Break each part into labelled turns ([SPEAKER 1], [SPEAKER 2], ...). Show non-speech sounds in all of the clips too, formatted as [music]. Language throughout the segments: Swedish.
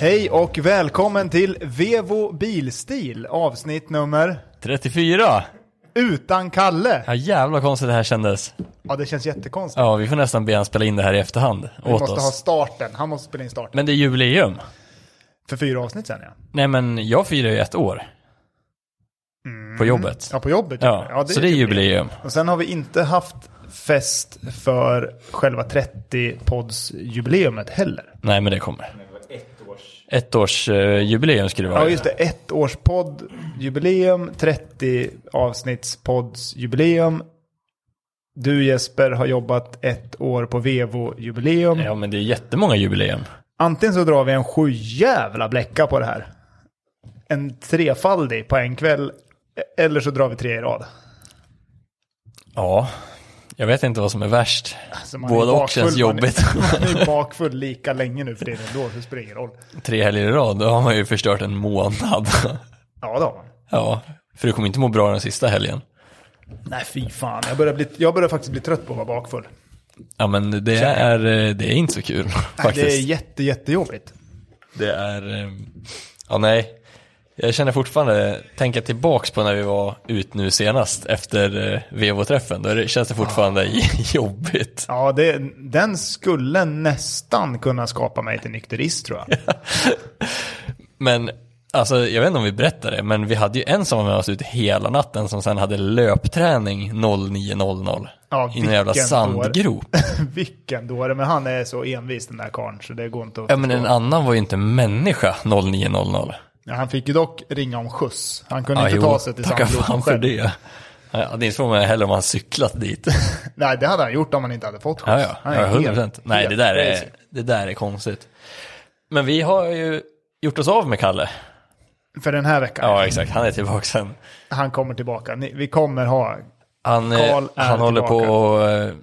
[SPEAKER 1] Hej och välkommen till Vevo Bilstil, avsnitt nummer
[SPEAKER 2] 34!
[SPEAKER 1] Utan Kalle.
[SPEAKER 2] Ja jävlar vad konstigt det här kändes.
[SPEAKER 1] Ja, det känns jättekonstigt.
[SPEAKER 2] Ja, vi får nästan be han spela in det här i efterhand
[SPEAKER 1] Vi
[SPEAKER 2] åt
[SPEAKER 1] måste ha
[SPEAKER 2] oss.
[SPEAKER 1] starten. Han måste spela in starten.
[SPEAKER 2] Men det är jubileum.
[SPEAKER 1] För fyra avsnitt sen ja.
[SPEAKER 2] Nej men jag firar ju ett år. På jobbet.
[SPEAKER 1] Mm. Ja, på jobbet.
[SPEAKER 2] Ja, så det är jubileum.
[SPEAKER 1] typ Och sen har vi inte haft fest för själva 30-poddsjubileumet heller.
[SPEAKER 2] Nej men det kommer. Ett års eh, jubileum skulle det vara.
[SPEAKER 1] Ja, just det. Ett års poddjubileum, 30 avsnittspoddsjubileum. Du Jesper har jobbat ett år på Vevo-jubileum.
[SPEAKER 2] Ja men det är jättemånga jubileum.
[SPEAKER 1] Antingen så drar vi en sjujävla bläcka på det här. En trefaldig på en kväll. Eller så drar vi tre i rad.
[SPEAKER 2] Ja. Jag vet inte vad som är värst.
[SPEAKER 1] Alltså man är
[SPEAKER 2] Både och
[SPEAKER 1] bakfull,
[SPEAKER 2] känns
[SPEAKER 1] man är-
[SPEAKER 2] jobbigt.
[SPEAKER 1] [laughs] Man är bakfull lika länge nu för det är ändå, så det spelar ingen roll.
[SPEAKER 2] Tre helger i rad, då har man ju förstört en månad. [laughs]
[SPEAKER 1] Ja, det har man.
[SPEAKER 2] ja, för du kommer inte må bra den sista helgen.
[SPEAKER 1] Nej, fy fan. Jag börjar, bli, jag börjar faktiskt bli trött på att vara bakfull.
[SPEAKER 2] Ja men det är, eh, det är inte så kul [laughs] faktiskt.
[SPEAKER 1] Det är jätte, jättejobbigt.
[SPEAKER 2] Det är, eh, ja nej. Jag känner fortfarande, tänka tillbaks på när vi var ut nu senast efter eh, Vevo-träffen, då är det- känns det fortfarande [laughs] jobbigt.
[SPEAKER 1] Ja, det, den skulle nästan kunna skapa mig till nykterist tror jag. [laughs]
[SPEAKER 2] Men alltså, jag vet inte om vi berättade det, men vi hade ju en som var med oss ut hela natten som sen hade löpträning 09.00
[SPEAKER 1] Ja,
[SPEAKER 2] i en jävla
[SPEAKER 1] vilken
[SPEAKER 2] sandgrop.
[SPEAKER 1] Vilken dåre, men han är så envis den där karln så det går inte att
[SPEAKER 2] Ja men
[SPEAKER 1] förstå.
[SPEAKER 2] en annan var ju inte människa 09.00.
[SPEAKER 1] Ja, han fick ju dock ringa om skjuts. Han kunde
[SPEAKER 2] Ja,
[SPEAKER 1] inte
[SPEAKER 2] jo,
[SPEAKER 1] ta sig till
[SPEAKER 2] tacka
[SPEAKER 1] sandgropen
[SPEAKER 2] fan för
[SPEAKER 1] själv.
[SPEAKER 2] det. Jag hade inte frågat mig heller om han cyklat dit.
[SPEAKER 1] [laughs] Nej, det hade han gjort om han inte hade fått skjuts.
[SPEAKER 2] Ja, ja,
[SPEAKER 1] Han är
[SPEAKER 2] ja 100
[SPEAKER 1] helt-
[SPEAKER 2] procent. Nej,
[SPEAKER 1] helt
[SPEAKER 2] det där,
[SPEAKER 1] crazy.
[SPEAKER 2] är, det där är konstigt. Men vi har ju gjort oss av med Kalle.
[SPEAKER 1] För den här veckan.
[SPEAKER 2] Ja, exakt. Han är tillbaka sen.
[SPEAKER 1] Han kommer tillbaka. Ni, vi kommer ha...
[SPEAKER 2] Han, eh,
[SPEAKER 1] Karl är
[SPEAKER 2] han håller
[SPEAKER 1] tillbaka.
[SPEAKER 2] på att eh,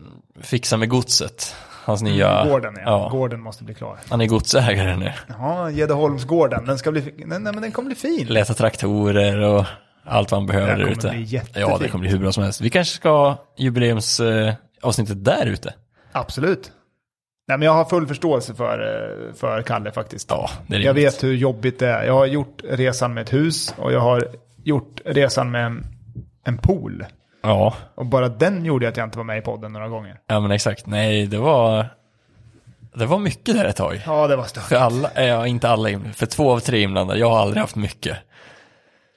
[SPEAKER 2] fixa med godset. Hans nya...
[SPEAKER 1] Mm, Gården, ja.
[SPEAKER 2] ja.
[SPEAKER 1] Gården måste bli klar.
[SPEAKER 2] Han är godsägare nu.
[SPEAKER 1] Ja, Gäddeholmsgården. Den ska bli... Nej, nej, men den kommer bli fin.
[SPEAKER 2] Letar traktorer och allt vad han behöver
[SPEAKER 1] Det här
[SPEAKER 2] där
[SPEAKER 1] kommer
[SPEAKER 2] ute.
[SPEAKER 1] bli jättefint.
[SPEAKER 2] ja, det kommer bli hur bra som helst. Vi kanske ska ha jubileumsavsnittet där ute.
[SPEAKER 1] Absolut. Nej, men jag har full förståelse för, eh, för Kalle faktiskt.
[SPEAKER 2] Ja, det är
[SPEAKER 1] Jag
[SPEAKER 2] rimligt.
[SPEAKER 1] vet hur jobbigt det är. Jag har gjort resan med ett hus och jag har gjort resan med en, en pool.
[SPEAKER 2] Ja.
[SPEAKER 1] Och bara den gjorde att jag inte var med i podden några gånger.
[SPEAKER 2] ja, men exakt. Nej, det var... Det var mycket där ett tag.
[SPEAKER 1] Ja, det var stört.
[SPEAKER 2] För alla, eh, ja, inte alla inblandade, för två av tre inblandade. Jag har aldrig haft mycket.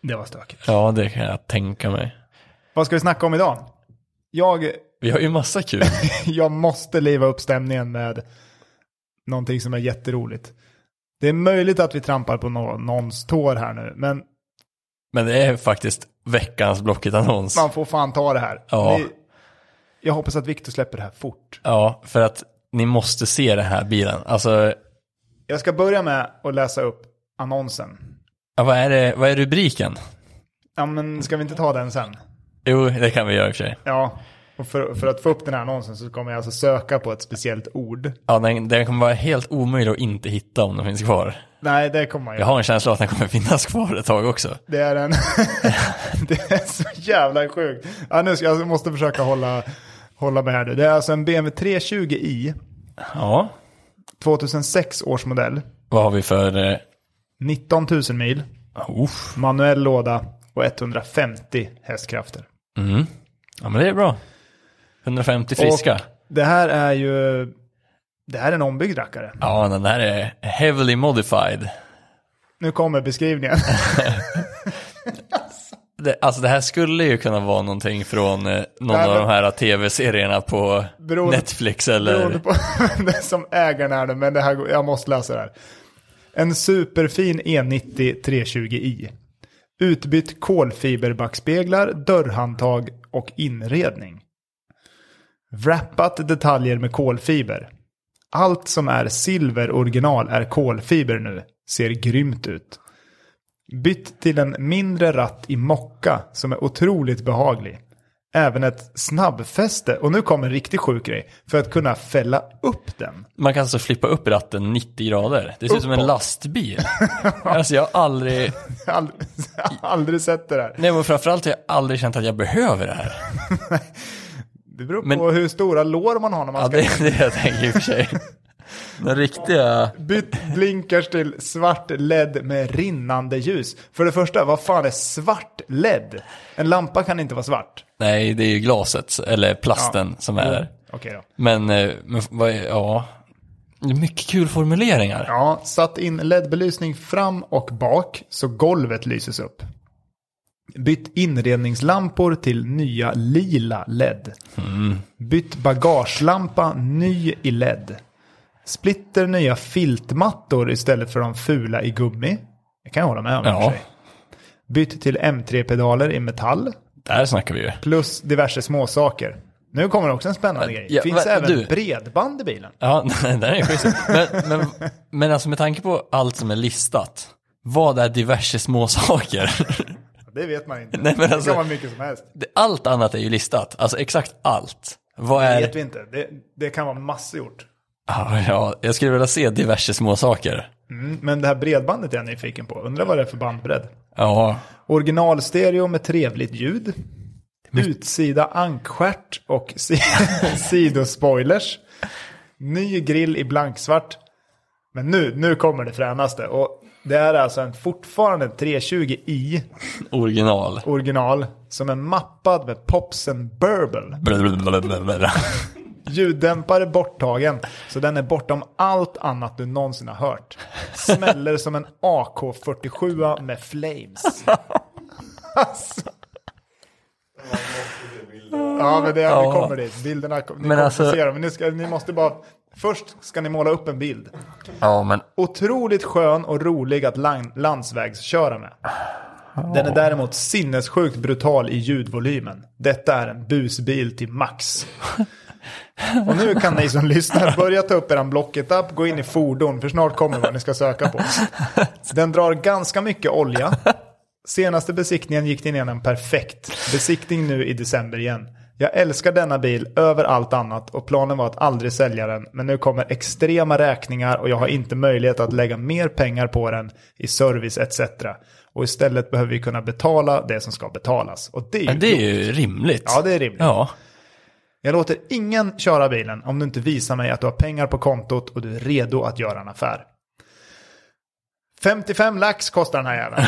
[SPEAKER 1] Det var stökigt.
[SPEAKER 2] Ja, det kan jag tänka mig.
[SPEAKER 1] Vad ska vi snacka om idag? Jag,
[SPEAKER 2] Vi har ju massa [laughs] kul.
[SPEAKER 1] jag måste liva upp stämningen med någonting som är jätteroligt. Det är möjligt att vi trampar på nå- någons tår här nu, men
[SPEAKER 2] Men det är faktiskt veckans Blocket-annons.
[SPEAKER 1] man får fan ta det här.
[SPEAKER 2] Ja.
[SPEAKER 1] Ni- jag hoppas att Viktor släpper det här fort.
[SPEAKER 2] Ja, för att ni måste se den här bilen. Alltså,
[SPEAKER 1] Jag ska börja med att läsa upp annonsen.
[SPEAKER 2] ja, vad är, det, vad är rubriken?
[SPEAKER 1] Ja, men ska vi inte ta den sen?
[SPEAKER 2] Jo, det kan vi göra i och för sig.
[SPEAKER 1] Ja, och för, för att få upp den här annonsen så kommer jag alltså söka på ett speciellt ord.
[SPEAKER 2] Ja, den, den kommer vara helt omöjlig att inte hitta om den finns kvar.
[SPEAKER 1] Nej, det kommer man ju.
[SPEAKER 2] Jag har en känsla att den kommer [laughs] finnas kvar ett tag också.
[SPEAKER 1] Det är en... [laughs] det är så jävla sjukt. Ja, nu ska, jag måste försöka hålla, hålla mig här nu. Det är alltså en BMW 320i,
[SPEAKER 2] Ja,
[SPEAKER 1] 2006 års modell,
[SPEAKER 2] vad har vi för... Eh, oh.
[SPEAKER 1] 19 000 mil,
[SPEAKER 2] uff.
[SPEAKER 1] manuell låda och 150 hästkrafter.
[SPEAKER 2] Mm. Ja, men det är bra. 150 friska.
[SPEAKER 1] Och det här är ju... Det här är en ombyggd rackare.
[SPEAKER 2] Ja, den här är heavily modified.
[SPEAKER 1] Nu kommer beskrivningen. [laughs]
[SPEAKER 2] Det, alltså det här skulle ju kunna vara någonting från eh, någon
[SPEAKER 1] Nej,
[SPEAKER 2] av
[SPEAKER 1] men-
[SPEAKER 2] de här tv-serierna på
[SPEAKER 1] Beroende-
[SPEAKER 2] Netflix eller...
[SPEAKER 1] Beroende på [laughs] vem det är som ägaren är nu, men det här, går- jag måste läsa det här. En superfin E90 320i. Utbytt kolfiberbackspeglar, dörrhandtag och inredning. Wrappat detaljer med kolfiber. Allt som är silver original är kolfiber nu. Ser grymt ut. Bytt till en mindre ratt i mocka som är otroligt behaglig. Även ett snabbfäste, och nu kommer en riktigt sjuk grej, för att kunna fälla upp den. [laughs]
[SPEAKER 2] Man kan alltså flippa upp ratten 90 grader. Det ser ut som en
[SPEAKER 1] Uppåt. [laughs]
[SPEAKER 2] lastbil. alltså jag har aldrig...
[SPEAKER 1] Jag har aldrig, jag har [laughs] aldrig sett det där.
[SPEAKER 2] Nej men framförallt har jag aldrig känt att jag behöver det här.
[SPEAKER 1] Det beror på
[SPEAKER 2] Men-
[SPEAKER 1] hur stora lår man har när man
[SPEAKER 2] Ja,
[SPEAKER 1] ska...
[SPEAKER 2] det är det jag tänker i och för sig. Den riktiga... [laughs]
[SPEAKER 1] Bytt blinkers till svart LED med rinnande ljus. För det första, vad fan är svart LED? En lampa kan inte vara svart.
[SPEAKER 2] Nej, det är ju glaset, eller plasten, som är där.
[SPEAKER 1] Okej då.
[SPEAKER 2] Men, eh, men vad är, ja. Det är Mycket kul formuleringar.
[SPEAKER 1] Ja, satt in LED-belysning fram och bak så golvet lyses upp. Bytt inredningslampor till nya lila LED.
[SPEAKER 2] Mm.
[SPEAKER 1] Bytt bagagelampa ny i LED. Splitter nya filtmattor istället för de fula i gummi. Det kan jag hålla med om. i och för
[SPEAKER 2] Ja.
[SPEAKER 1] sig. Bytt till M3-pedaler i metall.
[SPEAKER 2] Där snackar vi ju.
[SPEAKER 1] Plus diverse småsaker. Nu kommer också en spännande grej.
[SPEAKER 2] ja,
[SPEAKER 1] Finns
[SPEAKER 2] va-
[SPEAKER 1] även
[SPEAKER 2] du-
[SPEAKER 1] bredband i bilen.
[SPEAKER 2] Ja, [laughs] den är schysst. Men, men, men alltså med tanke på allt som är listat, vad är diverse [laughs] småsaker?
[SPEAKER 1] Det vet man inte.
[SPEAKER 2] Nej, men
[SPEAKER 1] det
[SPEAKER 2] alltså-
[SPEAKER 1] kan vara mycket som helst.
[SPEAKER 2] Det- Allt annat är ju listat, alltså exakt allt. Vad
[SPEAKER 1] Det
[SPEAKER 2] är...
[SPEAKER 1] vet vi inte. Det, det kan vara massgjort.
[SPEAKER 2] Ja, ja, jag skulle vilja se diverse småsaker.
[SPEAKER 1] Mm, men det här bredbandet är jag nyfiken på. Undrar vad det är för bandbredd.
[SPEAKER 2] Ja,
[SPEAKER 1] Originalstereo med trevligt ljud. Utsida ankstjärt och [laughs] si sidospoilers. Ny grill i blanksvart. Men nu, nu kommer det fränaste. Och det är alltså en fortfarande en 320i [laughs]
[SPEAKER 2] original.
[SPEAKER 1] original som är mappad med Popsen Burble.
[SPEAKER 2] Blablabla.
[SPEAKER 1] Ljuddämpare borttagen, så den är bortom allt annat du någonsin har hört. Smäller som en AK47 med flames. Alltså. Ja, men det, vi kommer dit. Bilderna kom- ni
[SPEAKER 2] Men
[SPEAKER 1] kommer
[SPEAKER 2] alltså-
[SPEAKER 1] få se dem. Men ni, ska, ni måste bara... Först ska ni måla upp en bild.
[SPEAKER 2] Ja, men
[SPEAKER 1] Otroligt skön och rolig att lan- landsvägsköra med. Den är däremot sinnessjukt brutal i ljudvolymen. Detta är en busbil till max. Och nu kan ni som lyssnar börja ta upp eran Blocket-app, gå in i fordon, för snart kommer vad ni ska söka på. Den drar ganska mycket olja. Senaste besiktningen gick den igenom perfekt. Besiktning nu i december igen. Jag älskar denna bil över allt annat och planen var att aldrig sälja den. Men nu kommer extrema räkningar och jag har inte möjlighet att lägga mer pengar på den i service etc. Och istället behöver vi kunna betala det som ska betalas. Och det är ju...
[SPEAKER 2] det är ju rimligt.
[SPEAKER 1] Ja, det är rimligt.
[SPEAKER 2] Ja.
[SPEAKER 1] Jag låter ingen köra bilen om du inte visar mig att du har pengar på kontot och du är redo att göra en affär. 55 lax kostar den här
[SPEAKER 2] [laughs]
[SPEAKER 1] jäveln.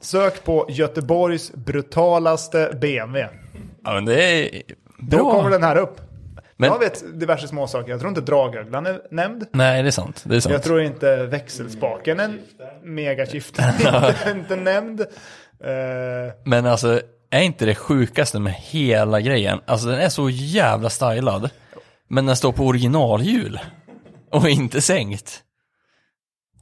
[SPEAKER 1] Sök på Göteborgs brutalaste BMW.
[SPEAKER 2] ja, men det är
[SPEAKER 1] Då
[SPEAKER 2] bra.
[SPEAKER 1] kommer den här upp.
[SPEAKER 2] Men-
[SPEAKER 1] Jag vet diverse småsaker. Jag tror inte dragöglan är nämnd.
[SPEAKER 2] Nej, det är sant. Det är sant.
[SPEAKER 1] Jag tror inte växelspaken är megakiften. [laughs] inte, inte nämnd. Eh,
[SPEAKER 2] Men alltså, är inte det sjukaste med hela grejen? Alltså den är så jävla stylad. Men den står på originalhjul. Och inte sänkt.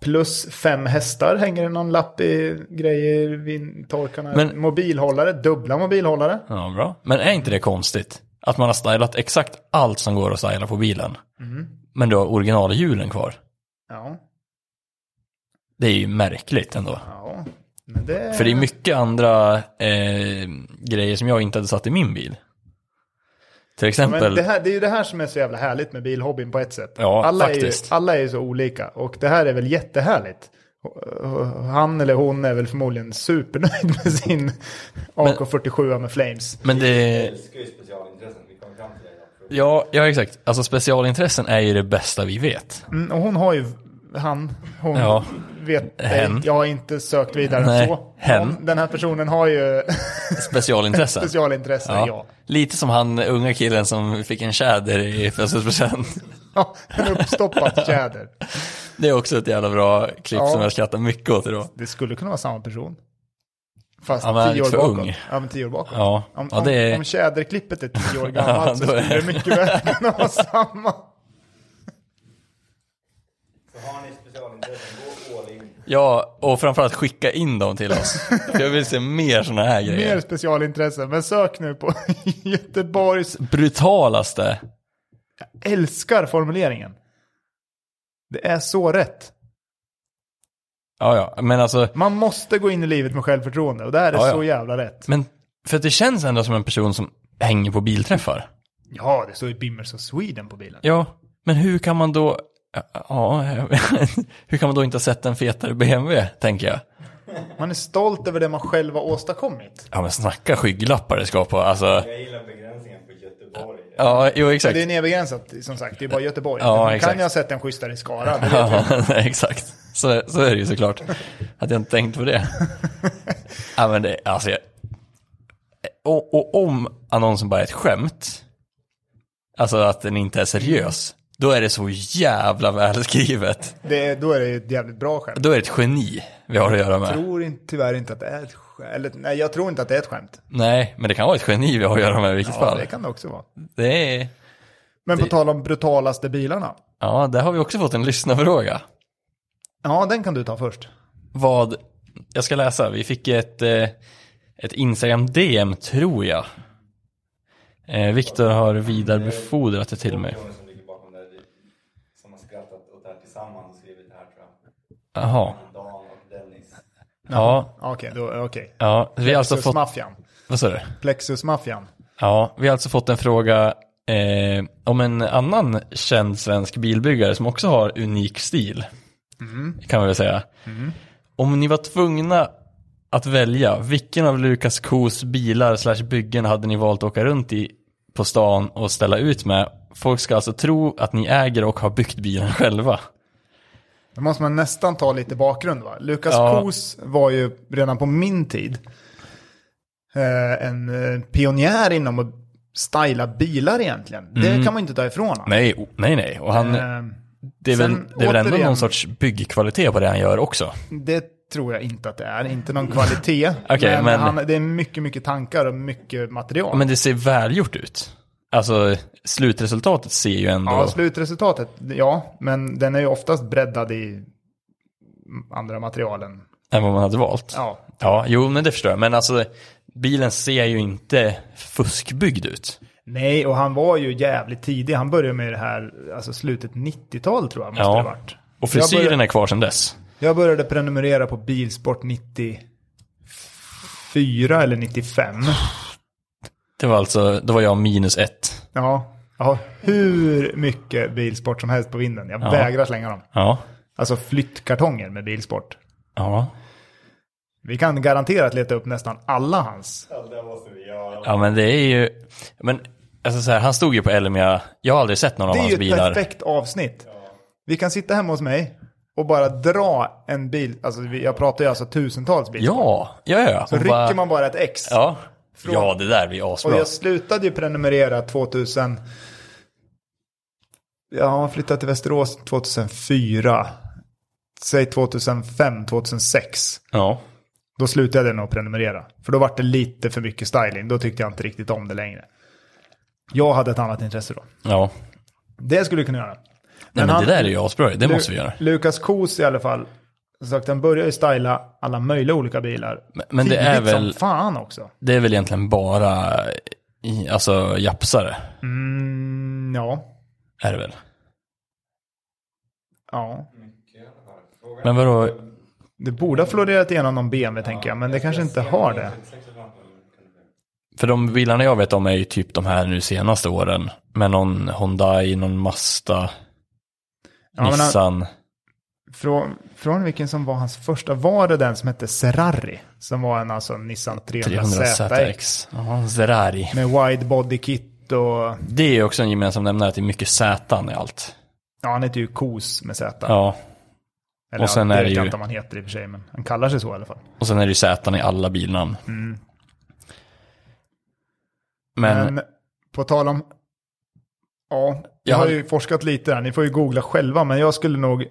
[SPEAKER 1] Plus fem hästar hänger det någon lapp i grejer vid torkarna.
[SPEAKER 2] Men-
[SPEAKER 1] mobilhållare, dubbla mobilhållare.
[SPEAKER 2] Ja, bra. Men är inte det konstigt? Att man har stylat exakt allt som går att styla på bilen. Men du har originalhjulen kvar.
[SPEAKER 1] Ja,
[SPEAKER 2] Det är ju märkligt ändå.
[SPEAKER 1] ja. Men det...
[SPEAKER 2] För det är mycket andra eh, grejer som jag inte hade satt i min bil. Till
[SPEAKER 1] men
[SPEAKER 2] exempel,
[SPEAKER 1] det, här, det är ju det här som är så jävla härligt med bilhobbyn på ett sätt.
[SPEAKER 2] Ja,
[SPEAKER 1] alla, är ju,
[SPEAKER 2] faktiskt.
[SPEAKER 1] alla är ju så olika och det här är väl jättehärligt. Han eller hon är väl förmodligen supernöjd med sin AK47 med flames.
[SPEAKER 2] men det,
[SPEAKER 3] älskar ju specialintressen, vi kommer fram till det. idag.
[SPEAKER 2] ja, ja exakt. Alltså specialintressen är ju det bästa vi vet.
[SPEAKER 1] Mm, och hon har ju, han, hon
[SPEAKER 2] Ja.
[SPEAKER 1] vet
[SPEAKER 2] Hen.
[SPEAKER 1] ej, jag har inte sökt vidare än
[SPEAKER 2] Nej,
[SPEAKER 1] så.
[SPEAKER 2] hen.
[SPEAKER 1] Hon, den här personen har
[SPEAKER 2] [laughs]
[SPEAKER 1] ju [laughs]
[SPEAKER 2] Specialintressen.
[SPEAKER 1] specialintressen,
[SPEAKER 2] Ja.
[SPEAKER 1] ja.
[SPEAKER 2] Lite som han unga killen som fick en tjäder i födelsedagspresent. [laughs]
[SPEAKER 1] [laughs] ja. En uppstoppad tjäder.
[SPEAKER 2] Det är också ett jävla bra klipp
[SPEAKER 1] Ja.
[SPEAKER 2] som jag skrattar mycket åt idag.
[SPEAKER 1] Det skulle kunna vara samma person. Fast
[SPEAKER 2] Ja, men han är
[SPEAKER 1] tio år
[SPEAKER 2] lite för
[SPEAKER 1] bakåt.
[SPEAKER 2] ung.
[SPEAKER 1] Ja, men tio år bakåt.
[SPEAKER 2] Ja,
[SPEAKER 1] Om,
[SPEAKER 2] ja det
[SPEAKER 1] om,
[SPEAKER 2] är...
[SPEAKER 1] om tjäderklippet är tio
[SPEAKER 2] [laughs]
[SPEAKER 1] år gammalt
[SPEAKER 2] Ja,
[SPEAKER 1] så
[SPEAKER 2] då är-
[SPEAKER 1] skulle det mycket väl kunna vara samma.
[SPEAKER 3] Så har ni specialintressen, gå all in.
[SPEAKER 2] Ja, och framförallt skicka in dem
[SPEAKER 1] [laughs]
[SPEAKER 2] till oss. För Jag vill se mer sådana här grejer.
[SPEAKER 1] Mer specialintressen. Men sök nu på [laughs] Göteborgs...
[SPEAKER 2] Brutalaste.
[SPEAKER 1] Älskar formuleringen. Det är så rätt.
[SPEAKER 2] Ja, ja, men alltså...
[SPEAKER 1] Man måste gå in i livet med självförtroende och det här är
[SPEAKER 2] Ja, ja.
[SPEAKER 1] så jävla rätt.
[SPEAKER 2] Men för att det känns ändå som en person som hänger på bilträffar.
[SPEAKER 1] Ja, det står ju Bimmers of Sweden på bilen.
[SPEAKER 2] Ja, men hur kan man då... Ja, [laughs] hur kan man då inte ha sett en fetare BMW, tänker jag.
[SPEAKER 1] Man är stolt över det man själv har åstadkommit.
[SPEAKER 2] Ja, men snacka skygglappar det skapar. Alltså,
[SPEAKER 3] Jag gillar begränsningen på Göteborg.
[SPEAKER 2] Ja, jo exakt.
[SPEAKER 1] Det är nedbegränsat som sagt, det är bara Göteborg.
[SPEAKER 2] Ja,
[SPEAKER 1] Men
[SPEAKER 2] exakt.
[SPEAKER 1] kan jag ha sett en schysstare i Skara? Det vet jag.
[SPEAKER 2] Ja, [laughs] exakt. Så, så är det ju såklart. Att jag inte tänkt
[SPEAKER 1] [laughs]
[SPEAKER 2] på det. ja, men det alltså jag, och, och om annonsen bara är ett skämt, alltså att den inte är seriös, då är det så jävla välskrivet.
[SPEAKER 1] Det, då är det ju ett jävligt bra skämt.
[SPEAKER 2] Då är det ett geni vi har att göra
[SPEAKER 1] Jag
[SPEAKER 2] med.
[SPEAKER 1] tror inte, tyvärr inte att det är ett skämt. Eller, nej, jag tror inte att det är ett skämt.
[SPEAKER 2] Nej, men det kan vara ett geni vi har att göra med i vilket
[SPEAKER 1] Ja,
[SPEAKER 2] fall.
[SPEAKER 1] det kan det också vara.
[SPEAKER 2] Det är,
[SPEAKER 1] Men på tal om brutalaste bilarna.
[SPEAKER 2] ja, där har vi också fått en lyssnarfråga.
[SPEAKER 1] Ja, den kan du ta först.
[SPEAKER 2] vad, jag ska läsa, vi fick ett, eh, ett Instagram-DM tror jag. Eh, Viktor har vidarebefordrat det till mig.
[SPEAKER 3] Personen som ligger bakom det här, som har skrattat åt det här tillsammans och skrivit det här tror
[SPEAKER 2] Jaha,
[SPEAKER 3] jag. Dan och Dennis.
[SPEAKER 2] ja,
[SPEAKER 1] Okej, då, okej.
[SPEAKER 2] ja, vi har alltså fått,
[SPEAKER 1] Plexusmaffian.
[SPEAKER 2] vad sa du?
[SPEAKER 1] Plexusmaffian.
[SPEAKER 2] Ja, vi har alltså fått en fråga eh, om en annan känd svensk bilbyggare som också har unik stil.
[SPEAKER 1] Mm-hmm.
[SPEAKER 2] Kan man väl säga. Om ni var tvungna att välja, vilken av Lukas Kos bilar slash byggen hade ni valt att åka runt i på stan och ställa ut med? Folk ska alltså tro att ni äger och har byggt bilen själva.
[SPEAKER 1] Då måste man nästan ta lite bakgrund va? Lukas
[SPEAKER 2] Ja.
[SPEAKER 1] Kos var ju redan på min tid eh, en eh, pionjär inom att styla bilar egentligen. Det kan man inte ta ifrån honom.
[SPEAKER 2] Nej, o- nej, Mm. nej. Och han,
[SPEAKER 1] Eh,
[SPEAKER 2] det är, väl,
[SPEAKER 1] sen
[SPEAKER 2] det är väl ändå
[SPEAKER 1] återigen-
[SPEAKER 2] någon sorts byggkvalitet på det han gör också.
[SPEAKER 1] Det tror jag inte att det är. Inte någon kvalitet.
[SPEAKER 2] [laughs] Okej,
[SPEAKER 1] men
[SPEAKER 2] men-
[SPEAKER 1] Han, det är mycket, mycket tankar och mycket material.
[SPEAKER 2] Ja, Men det ser välgjort ut. Alltså slutresultatet ser ju ändå...
[SPEAKER 1] Ja, alltså, slutresultatet, ja. Men den är ju oftast breddad i andra materialen.
[SPEAKER 2] än vad man hade valt.
[SPEAKER 1] Ja.
[SPEAKER 2] ja, jo men det förstår jag. Men alltså bilen ser ju inte fuskbyggd ut.
[SPEAKER 1] Nej, och han var ju jävligt tidig. Han började med det här, alltså slutet 90-tal tror jag måste det ha varit.
[SPEAKER 2] Och
[SPEAKER 1] Jag
[SPEAKER 2] frisyren
[SPEAKER 1] började-
[SPEAKER 2] är kvar sedan dess.
[SPEAKER 1] Jag började prenumerera på Bilsport 94 eller 95.
[SPEAKER 2] Det var alltså, då var jag minus ett.
[SPEAKER 1] Ja, jag har hur mycket Bilsport som helst på vinden. Jag vägrar slänga dem.
[SPEAKER 2] Ja.
[SPEAKER 1] Alltså flyttkartonger med Bilsport.
[SPEAKER 2] Ja.
[SPEAKER 1] Vi kan garanterat leta upp nästan alla hans.
[SPEAKER 3] Ja, det måste vi göra.
[SPEAKER 2] Ja men det är ju... Men alltså så här, han stod ju på Elmia. Jag har aldrig sett
[SPEAKER 1] Det
[SPEAKER 2] någon av
[SPEAKER 1] är ju
[SPEAKER 2] hans
[SPEAKER 1] ett
[SPEAKER 2] bilar.
[SPEAKER 1] perfekt avsnitt. Vi kan sitta hemma hos mig och bara dra en bil. Alltså vi- jag pratar ju alltså tusentals bilar.
[SPEAKER 2] Ja, ja, ja.
[SPEAKER 1] Så
[SPEAKER 2] Och
[SPEAKER 1] rycker
[SPEAKER 2] bara-
[SPEAKER 1] man bara ett ex.
[SPEAKER 2] Ja. Ja, det där blir
[SPEAKER 1] och
[SPEAKER 2] asbra.
[SPEAKER 1] jag slutade ju prenumerera 2000. Jag flyttade till Västerås 2004. Säg 2005, 2006.
[SPEAKER 2] Ja.
[SPEAKER 1] Då slutade jag nog prenumerera. För då var det lite för mycket styling. Då tyckte jag inte riktigt om det längre. Jag hade ett annat intresse då.
[SPEAKER 2] Ja.
[SPEAKER 1] Det skulle du kunna göra.
[SPEAKER 2] Nej men,
[SPEAKER 1] han-
[SPEAKER 2] det där är ju asbra. Det måste vi göra.
[SPEAKER 1] Lukas Kos i alla fall. Som sagt, han börjar ju styla alla möjliga olika bilar.
[SPEAKER 2] Men- men det är
[SPEAKER 1] Tidigt som
[SPEAKER 2] väl-
[SPEAKER 1] fan också.
[SPEAKER 2] Det är väl egentligen bara i- alltså, japsare,
[SPEAKER 1] Mm, ja.
[SPEAKER 2] är det väl?
[SPEAKER 1] Ja.
[SPEAKER 2] Men vadå,
[SPEAKER 1] Det borde ha florerat igenom någon BMW tänker jag. Men det kanske inte har det.
[SPEAKER 2] för de bilarna jag vet om är ju typ de här nu senaste åren. Med någon Hyundai, någon Mazda,
[SPEAKER 1] Ja, men han,
[SPEAKER 2] Nissan.
[SPEAKER 1] från, från vilken som var hans första? Var det den som hette Ferrari? Som var en alltså Nissan 300
[SPEAKER 2] 300
[SPEAKER 1] ZX.
[SPEAKER 2] ZX. Ja, en Ferrari.
[SPEAKER 1] Med wide body kit och...
[SPEAKER 2] Det är ju också en gemensam nämnare att det är mycket Z i allt.
[SPEAKER 1] Ja, han heter ju Kos med Z.
[SPEAKER 2] Ja,
[SPEAKER 1] Eller
[SPEAKER 2] och sen
[SPEAKER 1] ja,
[SPEAKER 2] är
[SPEAKER 1] det
[SPEAKER 2] det
[SPEAKER 1] vet jag
[SPEAKER 2] ju-
[SPEAKER 1] inte om han heter i och för sig. Men han kallar sig så i alla fall.
[SPEAKER 2] och sen är det ju Z i alla bilnamn. Men,
[SPEAKER 1] Mm. Men på tal om... Ja,
[SPEAKER 2] Jag
[SPEAKER 1] jag har
[SPEAKER 2] hade-
[SPEAKER 1] ju forskat lite där. Ni får ju googla själva, men jag skulle nog...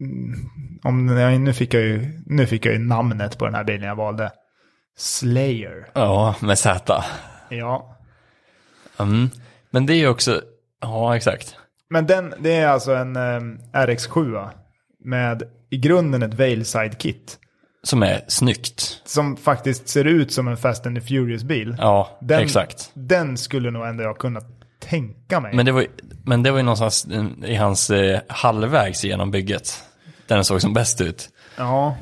[SPEAKER 1] Mm, Om, nej, nu, fick jag ju, nu fick jag ju namnet på den här bilen jag valde. Slayer.
[SPEAKER 2] ja, med Z.
[SPEAKER 1] Ja.
[SPEAKER 2] Mm. Men det är ju också, ja exakt.
[SPEAKER 1] Men den, det är alltså en em, RX7 med i grunden ett Veilside-kit.
[SPEAKER 2] Som är snyggt.
[SPEAKER 1] Som faktiskt ser ut som en Fast and the Furious-bil.
[SPEAKER 2] Ja,
[SPEAKER 1] Den-
[SPEAKER 2] exakt.
[SPEAKER 1] Den skulle nog ändå jag kunna tänka mig.
[SPEAKER 2] Men det var ju, men det var ju någonstans i hans eh, halvvägs genom bygget. Där den såg som bäst ut.
[SPEAKER 1] Ja,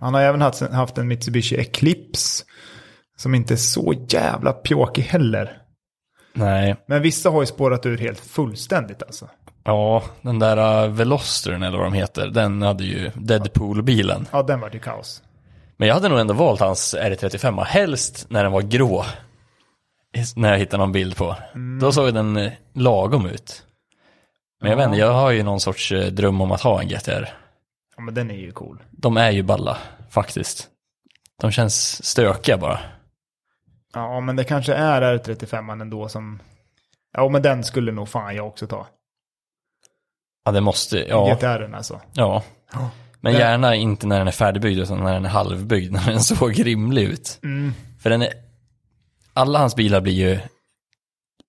[SPEAKER 1] han har även haft, haft en Mitsubishi Eclipse. Som inte är så jävla pjåkig heller.
[SPEAKER 2] Nej,
[SPEAKER 1] Men vissa har ju spårat ur helt fullständigt alltså.
[SPEAKER 2] ja, den där uh, Velostern eller vad de heter, den hade ju Deadpool-bilen.
[SPEAKER 1] Ja, den var ju kaos.
[SPEAKER 2] Men jag hade nog ändå valt hans R35, helst när den var grå. när jag hittade någon bild på. Då såg den eh, lagom ut. Men jag vet inte, jag har ju någon sorts eh, dröm om att ha en GTR.
[SPEAKER 1] Ja, men den är ju cool.
[SPEAKER 2] De är ju balla, faktiskt. De känns stökiga bara.
[SPEAKER 1] Ja, men det kanske är R35 ändå som... Ja, men den skulle nog fan jag också ta.
[SPEAKER 2] Ja, det måste, ja.
[SPEAKER 1] GTR alltså.
[SPEAKER 2] ja.
[SPEAKER 1] Ja.
[SPEAKER 2] Men
[SPEAKER 1] Den-
[SPEAKER 2] gärna inte när den är färdigbyggd, utan när den är halvbyggd, [laughs] när den såg rimlig ut. För den är, alla hans bilar blir ju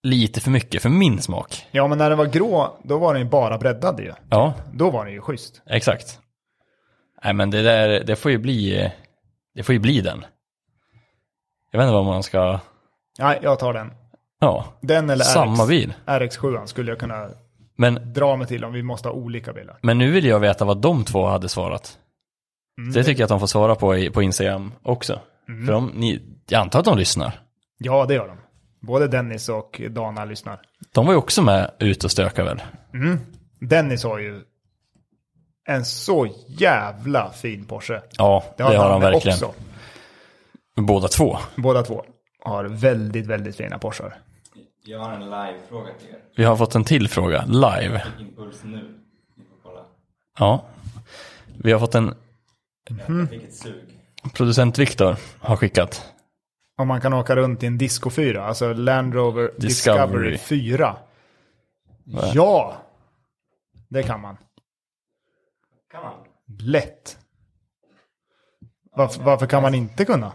[SPEAKER 2] lite för mycket för min smak.
[SPEAKER 1] Ja, men när den var grå, då var den ju bara breddad ju.
[SPEAKER 2] Ja,
[SPEAKER 1] Då var den ju schysst.
[SPEAKER 2] exakt. Nej, men det där, det får ju bli, det får ju bli den. Jag vet inte vad man ska,
[SPEAKER 1] Nej, jag tar den.
[SPEAKER 2] ja,
[SPEAKER 1] Den eller
[SPEAKER 2] samma
[SPEAKER 1] RX,
[SPEAKER 2] bil.
[SPEAKER 1] RX7 skulle jag kunna
[SPEAKER 2] Men,
[SPEAKER 1] dra mig till om vi måste ha olika bilar.
[SPEAKER 2] men nu vill jag veta vad de två hade svarat. det tycker jag att de får svara på i, på Instagram också. För de, ni, jag antar att de lyssnar.
[SPEAKER 1] Ja, det gör de. Både Dennis och Dana lyssnar.
[SPEAKER 2] De var ju också med ut och stöka väl?
[SPEAKER 1] Dennis har ju en så jävla fin Porsche.
[SPEAKER 2] Ja, det har, de
[SPEAKER 1] han
[SPEAKER 2] verkligen. Båda två.
[SPEAKER 1] Båda två har väldigt, väldigt fina Porschar.
[SPEAKER 3] Jag har en live-fråga till er.
[SPEAKER 2] Vi har fått en till fråga, live.
[SPEAKER 3] Impuls nu. Ni får kolla.
[SPEAKER 2] Ja. Vi har fått en
[SPEAKER 3] Jag fick ett sug.
[SPEAKER 2] producent Viktor har skickat.
[SPEAKER 1] Om man kan åka runt i en Disco 4, alltså Land Rover Discovery,
[SPEAKER 2] Discovery.
[SPEAKER 1] 4. Ja, det kan man.
[SPEAKER 3] Kan man?
[SPEAKER 1] Lätt. Varför, varför kan man inte kunna?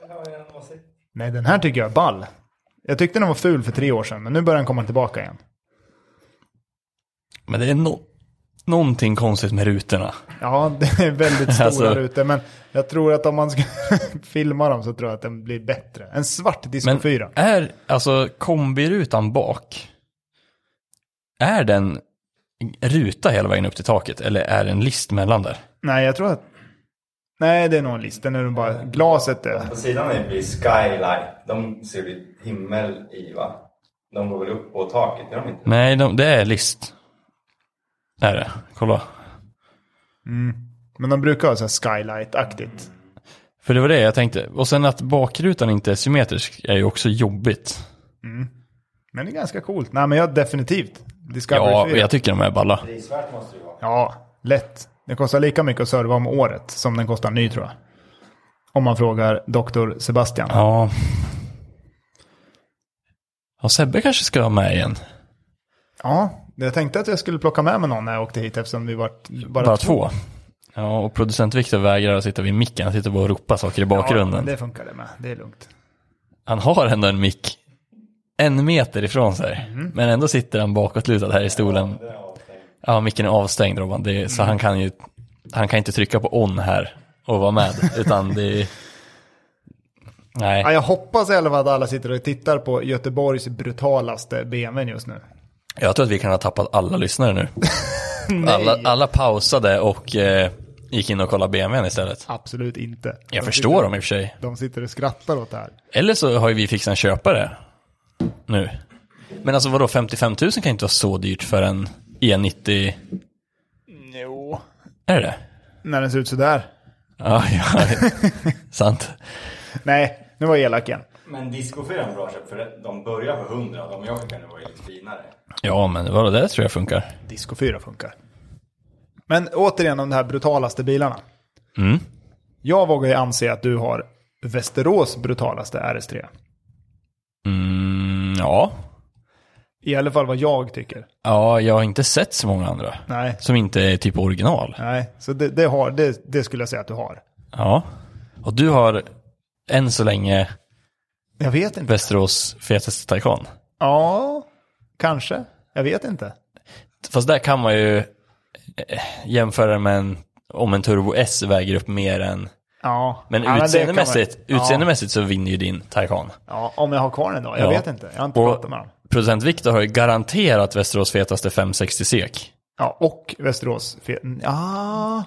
[SPEAKER 3] Jag har en åsikt.
[SPEAKER 1] Nej, den här tycker jag är ball. Jag tyckte den var ful för tre år sedan, men nu börjar den komma tillbaka igen.
[SPEAKER 2] Men det är no- någonting konstigt med rutorna.
[SPEAKER 1] Ja, det är väldigt stora
[SPEAKER 2] Alltså-
[SPEAKER 1] rutor, men jag tror att om man ska [laughs] filma dem så tror jag att den blir bättre. En svart Disco
[SPEAKER 2] Men
[SPEAKER 1] 4.
[SPEAKER 2] är, alltså kombirutan bak, är den ruta hela vägen upp till taket eller är det en list mellan där?
[SPEAKER 1] Nej, jag tror att... Nej, det är nog en list. Den är nog bara glaset. Är...
[SPEAKER 3] På sidan är blir skyline. De ser vi himmel i va? De går väl upp på taket, gör de inte?
[SPEAKER 2] Nej, de, det är list. Är det? Kolla.
[SPEAKER 1] Men de brukar ha så här skylight-aktigt.
[SPEAKER 2] För det var det jag tänkte. Och sen att bakrutan inte är symmetrisk är ju också jobbigt.
[SPEAKER 1] Men det är ganska coolt. Nej, men jag definitivt. Discovery
[SPEAKER 2] Ja,
[SPEAKER 1] 4.
[SPEAKER 2] jag tycker de är balla.
[SPEAKER 3] Prisvärt måste det ju vara.
[SPEAKER 1] Ja, lätt. Det kostar lika mycket att serva om året som den kostar ny tror jag. Om man frågar doktor Sebastian.
[SPEAKER 2] Ja. Ja, Sebbe kanske ska vara med igen.
[SPEAKER 1] Ja, jag tänkte att jag skulle plocka med mig någon när jag åkte hit eftersom vi var bara,
[SPEAKER 2] Bara två. Ja, och producent Viktor vägrar att sitta vid micken. Han sitter bara och ropar saker i
[SPEAKER 1] Ja,
[SPEAKER 2] bakgrunden.
[SPEAKER 1] det funkar det med. Det är lugnt.
[SPEAKER 2] Han har ändå en mick en meter ifrån sig. Men ändå sitter han bakåtlutad här i stolen.
[SPEAKER 3] Det är avstängt.
[SPEAKER 2] Ja, micken är avstängd Robban. Det är, så han kan ju han kan inte trycka på on här och vara med. utan det är... Nej.
[SPEAKER 1] Ja, jag hoppas i alla fall att alla sitter och tittar på Göteborgs brutalaste BMW just nu.
[SPEAKER 2] Jag tror att vi kan ha tappat alla lyssnare nu. alla, alla pausade och eh, gick in och kollade BMWn istället.
[SPEAKER 1] Absolut inte.
[SPEAKER 2] Jag
[SPEAKER 1] de
[SPEAKER 2] förstår dem i och för sig.
[SPEAKER 1] Sitter, de sitter och skrattar åt det här.
[SPEAKER 2] Eller så har ju vi fixat en köpare nu. Men alltså vadå, 55 000 kan inte vara så dyrt för en E90?
[SPEAKER 1] Jo.
[SPEAKER 2] Är det det?
[SPEAKER 1] När den ser ut sådär.
[SPEAKER 2] Ja, [laughs] ja. sant.
[SPEAKER 1] Nej, nu var jag elak igen.
[SPEAKER 3] Men Disco 4 är en bra köp för det- de börjar för 100 de jag skickade var ju lite finare.
[SPEAKER 2] Ja, men vadå, det tror jag funkar.
[SPEAKER 1] Disco 4 funkar. Men återigen om de här brutalaste bilarna.
[SPEAKER 2] Mm.
[SPEAKER 1] Jag vågar ju anse att du har Västerås brutalaste RS3.
[SPEAKER 2] Mm, ja.
[SPEAKER 1] I alla fall vad jag tycker.
[SPEAKER 2] Ja, jag har inte sett så många andra.
[SPEAKER 1] Nej.
[SPEAKER 2] Som inte är typ original.
[SPEAKER 1] Nej, så det, det, har, det, det skulle jag säga att du har.
[SPEAKER 2] Ja. Och du har än så länge
[SPEAKER 1] Jag vet inte.
[SPEAKER 2] Västerås fetaste Taycan.
[SPEAKER 1] Ja, kanske. Jag vet inte.
[SPEAKER 2] Fast där kan man ju eh, jämföra med en, om en Turbo S väger upp mer än...
[SPEAKER 1] Ja.
[SPEAKER 2] Men
[SPEAKER 1] ja, det kan
[SPEAKER 2] utseendemässigt,
[SPEAKER 1] man-
[SPEAKER 2] utseendemässigt så vinner ju din Taycan.
[SPEAKER 1] Ja, ja, om jag har kvar den då. Jag
[SPEAKER 2] Ja.
[SPEAKER 1] vet inte. Jag har inte
[SPEAKER 2] Och-
[SPEAKER 1] pratat med dem.
[SPEAKER 2] Producent Viktor har ju garanterat Västerås fetaste 560 SEK.
[SPEAKER 1] Ja, och Västerås. fe- Ja,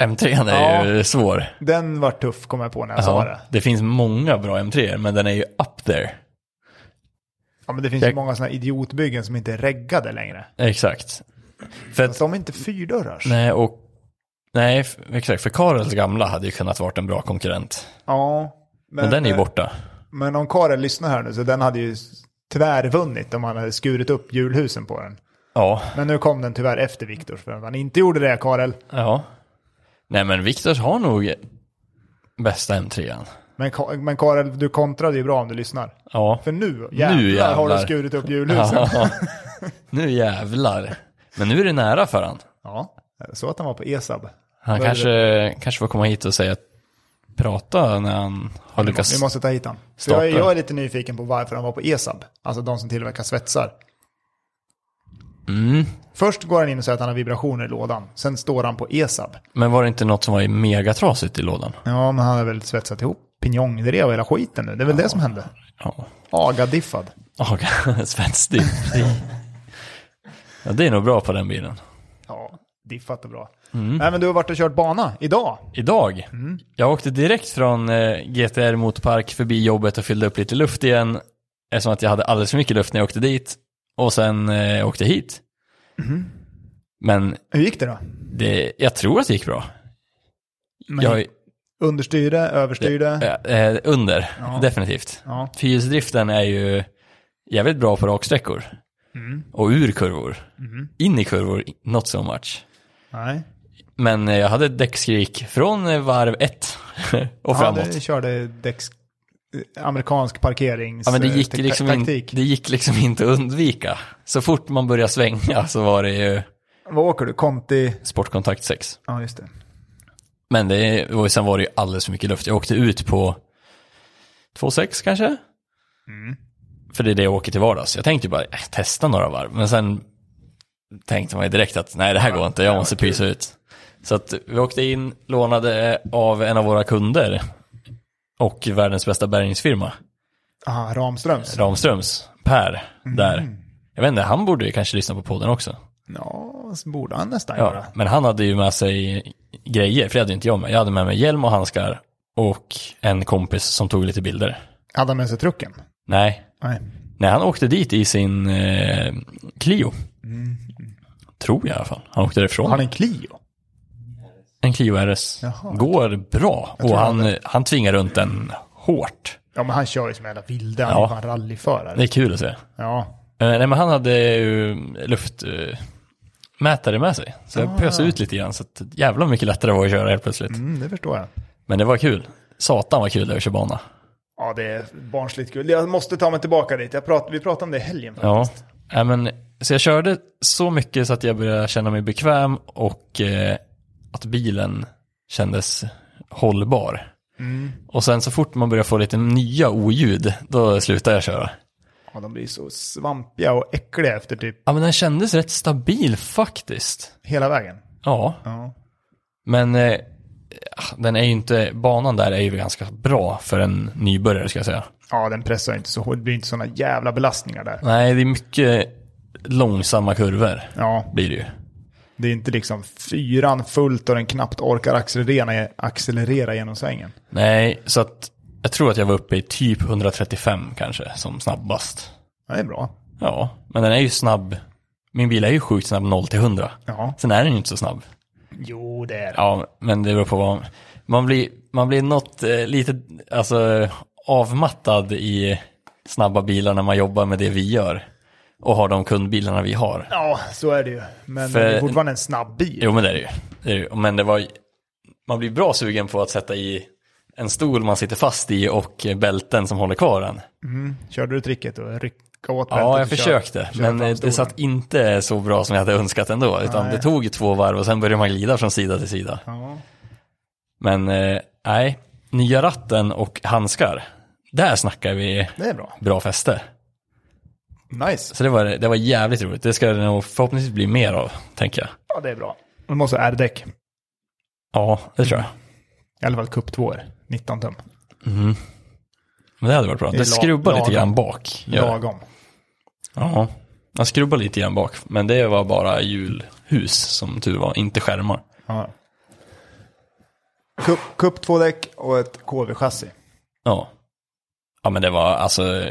[SPEAKER 2] M3 är ju svår.
[SPEAKER 1] den var tuff kom jag på när jag sa
[SPEAKER 2] Ja,
[SPEAKER 1] det.
[SPEAKER 2] det finns många bra m 3 men den är ju up there.
[SPEAKER 1] Ja, men det finns ju
[SPEAKER 2] Jag-
[SPEAKER 1] många sådana idiotbyggen som inte är reggade längre.
[SPEAKER 2] Exakt. För att,
[SPEAKER 1] Fast de är inte fyrdörrars.
[SPEAKER 2] nej, och, nej, f- exakt. För Karels gamla hade ju kunnat varit en bra konkurrent.
[SPEAKER 1] Ja.
[SPEAKER 2] Men den är ju
[SPEAKER 1] eh,
[SPEAKER 2] borta.
[SPEAKER 1] Men om Karel lyssnar här nu så den hade ju tvärvunnit om han hade skurit upp julhusen på den.
[SPEAKER 2] Ja,
[SPEAKER 1] Men nu kom den tyvärr efter Viktors för att han inte gjorde det Karel.
[SPEAKER 2] ja. Nej men Viktors har nog bästa M3. an.
[SPEAKER 1] Men, Ka- men Karel, du kontrade ju bra om du lyssnar.
[SPEAKER 2] Ja,
[SPEAKER 1] För nu jävlar, har du
[SPEAKER 2] jävlar.
[SPEAKER 1] skurit upp julhusen. Ja.
[SPEAKER 2] [laughs] nu jävlar. Men nu är det nära för han.
[SPEAKER 1] så att han var på E ESAB.
[SPEAKER 2] Han
[SPEAKER 1] Då är
[SPEAKER 2] kanske, kanske får komma hit och säga prata när han har lyckats.
[SPEAKER 1] Vi måste ta hit han. För
[SPEAKER 2] Starta.
[SPEAKER 1] Jag, är- jag är lite nyfiken på varför han var på ESAB. Alltså de som tillverkar svetsar.
[SPEAKER 2] Mm.
[SPEAKER 1] Först går han in och säger att han har vibrationer i lådan. Sen står han på E ESAB.
[SPEAKER 2] Men var det inte något som var i megatrasigt i lådan?
[SPEAKER 1] Ja, men han har väl svetsat ihop pinjongdrev och hela skiten nu. Det är väl det som hände.
[SPEAKER 2] Ja.
[SPEAKER 1] Agadiffad.
[SPEAKER 2] [laughs] Oh, [laughs] Svenskt Ja, det är nog bra på den bilen.
[SPEAKER 1] Ja, diffat och bra.
[SPEAKER 2] Mm.
[SPEAKER 1] Nej, men du har varit och kört bana idag.
[SPEAKER 2] Idag.
[SPEAKER 1] Mm.
[SPEAKER 2] Jag åkte direkt från eh, GTR Motorpark förbi jobbet och fyllde upp lite luft igen. Eftersom att jag hade alldeles för mycket luft när jag åkte dit. Och sen eh, åkte hit.
[SPEAKER 1] Mm-hmm.
[SPEAKER 2] Men
[SPEAKER 1] Hur gick det då?
[SPEAKER 2] det, jag tror att det gick bra.
[SPEAKER 1] Men
[SPEAKER 2] jag,
[SPEAKER 1] Understyrde, överstyrde?
[SPEAKER 2] eh, eh, under,
[SPEAKER 1] Ja.
[SPEAKER 2] definitivt.
[SPEAKER 1] Ja.
[SPEAKER 2] Fyrhjulsdriften är ju jävligt bra på raksträckor.
[SPEAKER 1] Mm.
[SPEAKER 2] Och ur kurvor.
[SPEAKER 1] Mm-hmm.
[SPEAKER 2] In i kurvor, not so much.
[SPEAKER 1] Nej.
[SPEAKER 2] Men eh, jag hade ett däckskrik från eh, varv ett [laughs]
[SPEAKER 1] Ja,
[SPEAKER 2] och framåt.
[SPEAKER 1] du körde däcks... eh, Amerikansk parkerings...
[SPEAKER 2] Ja, men det gick,
[SPEAKER 1] eh,
[SPEAKER 2] liksom in,
[SPEAKER 1] taktik.
[SPEAKER 2] det gick liksom inte att undvika. Så fort man började svänga så var det ju
[SPEAKER 1] Vad åker du? Conti?
[SPEAKER 2] sportkontakt 6.
[SPEAKER 1] Ja, just det.
[SPEAKER 2] Men det, och sen var det ju alldeles för mycket luft. Jag åkte ut på 2,6 kanske? För det är det jag åker till vardags. Jag tänkte ju bara eh, testa några varv, men sen tänkte man ju direkt att nej det här går inte, jag måste pysa ut. Så att vi åkte in, lånade av en av våra kunder och världens bästa bärgningsfirma.
[SPEAKER 1] Ah, Ramströms?
[SPEAKER 2] Ramströms, Per, där.
[SPEAKER 1] Mm.
[SPEAKER 2] Jag vet inte, han borde ju kanske lyssna på podden också.
[SPEAKER 1] Ja, så borde han nästan
[SPEAKER 2] Ja,
[SPEAKER 1] göra.
[SPEAKER 2] men han hade ju med sig grejer, för det hade inte jag med. Jag hade med mig hjälm och handskar och en kompis som tog lite bilder.
[SPEAKER 1] Hade han med sig trucken?
[SPEAKER 2] Nej,
[SPEAKER 1] Nej.
[SPEAKER 2] nej han åkte dit i sin eh, Clio. Tror jag i alla fall. Han åkte
[SPEAKER 1] Har
[SPEAKER 2] därifrån.
[SPEAKER 1] Mm. han en Clio?
[SPEAKER 2] En Clio RS.
[SPEAKER 1] Jaha.
[SPEAKER 2] Går bra. Och
[SPEAKER 1] tror han
[SPEAKER 2] han, han tvingar runt den hårt.
[SPEAKER 1] Ja, men han kör ju som en jävla vilde. Han
[SPEAKER 2] Ja.
[SPEAKER 1] är ju fan rallyförare.
[SPEAKER 2] Det är kul att se. Eh,
[SPEAKER 1] Ja.
[SPEAKER 2] nej, men han hade ju luftmätare med sig. Så jag pöste ut lite grann. Så att jävla mycket lättare det var att köra helt plötsligt.
[SPEAKER 1] Mm, det förstår jag.
[SPEAKER 2] Men det var kul. Satan vad kul det är att köra bana.
[SPEAKER 1] Ja, det är barnsligt kul. Jag måste ta mig tillbaka dit. Jag prat, vi pratade om det i helgen.
[SPEAKER 2] Ja, Nej, men, så jag körde så mycket så att jag började känna mig bekväm och eh, att bilen kändes hållbar. Och sen så fort man börjar få lite nya oljud, då slutar jag köra.
[SPEAKER 1] Ja, de blir så svampiga och äckliga efter typ
[SPEAKER 2] Ja, men den kändes rätt stabil faktiskt.
[SPEAKER 1] hela vägen.
[SPEAKER 2] Ja,
[SPEAKER 1] Ja.
[SPEAKER 2] men eh, den är ju inte, banan där är ju ganska bra för en nybörjare ska jag säga.
[SPEAKER 1] Ja, den pressar inte så hårt. Det blir inte sådana jävla belastningar där.
[SPEAKER 2] Nej, det är mycket långsamma kurvor
[SPEAKER 1] Ja,
[SPEAKER 2] blir det ju.
[SPEAKER 1] det är inte liksom fyran fullt och den knappt orkar accelerera, accelerera genom svängen.
[SPEAKER 2] Nej, så att jag tror att jag var uppe i typ 135 kanske som snabbast.
[SPEAKER 1] Ja, det är bra.
[SPEAKER 2] Ja, men den är ju snabb. Min bil är ju sjukt snabb 0 till 100.
[SPEAKER 1] Ja.
[SPEAKER 2] Sen är den ju inte så snabb.
[SPEAKER 1] Jo, det är det.
[SPEAKER 2] Ja, men det beror på vad man blir. Man blir något eh, lite alltså, avmattad i snabba bilar när man jobbar med det vi gör och har de kundbilarna vi har.
[SPEAKER 1] Ja, så är det ju. Men
[SPEAKER 2] För-
[SPEAKER 1] det är fortfarande en snabb bil.
[SPEAKER 2] Jo, men det är det ju. Det är det ju. Men det var, man blir bra sugen på att sätta i en stol man sitter fast i och bälten som håller kvar en.
[SPEAKER 1] Körde du tricket och rycka åt
[SPEAKER 2] Ja, jag
[SPEAKER 1] och köra-
[SPEAKER 2] försökte,
[SPEAKER 1] köra
[SPEAKER 2] men
[SPEAKER 1] fram
[SPEAKER 2] eh, det
[SPEAKER 1] stolen?
[SPEAKER 2] satt inte så bra som jag hade önskat ändå, utan
[SPEAKER 1] Nej.
[SPEAKER 2] det tog ju två varv och sen började man glida från sida till sida.
[SPEAKER 1] Ja.
[SPEAKER 2] Men eh, nej, nya ratten och handskar, där snackar vi
[SPEAKER 1] Det är bra.
[SPEAKER 2] bra fäste.
[SPEAKER 1] Nice.
[SPEAKER 2] Så det var, det var jävligt roligt, det ska det nog förhoppningsvis bli mer av, tänker jag.
[SPEAKER 1] Ja, det är bra. Man måste ha R-däck.
[SPEAKER 2] Ja, det tror jag.
[SPEAKER 1] I alla fall cup 2 19 tum.
[SPEAKER 2] Men det hade varit bra.
[SPEAKER 1] är
[SPEAKER 2] Det
[SPEAKER 1] la-
[SPEAKER 2] skrubbar lite
[SPEAKER 1] lagom.
[SPEAKER 2] grann bak. Ja,
[SPEAKER 1] Lagom.
[SPEAKER 2] ja. man skrubbar lite grann bak, men det var bara hjulhus som tur var, inte skärmar.
[SPEAKER 1] Ja. Cup, cup 2 däck och ett KV-chassi.
[SPEAKER 2] Ja. Ja men det var alltså,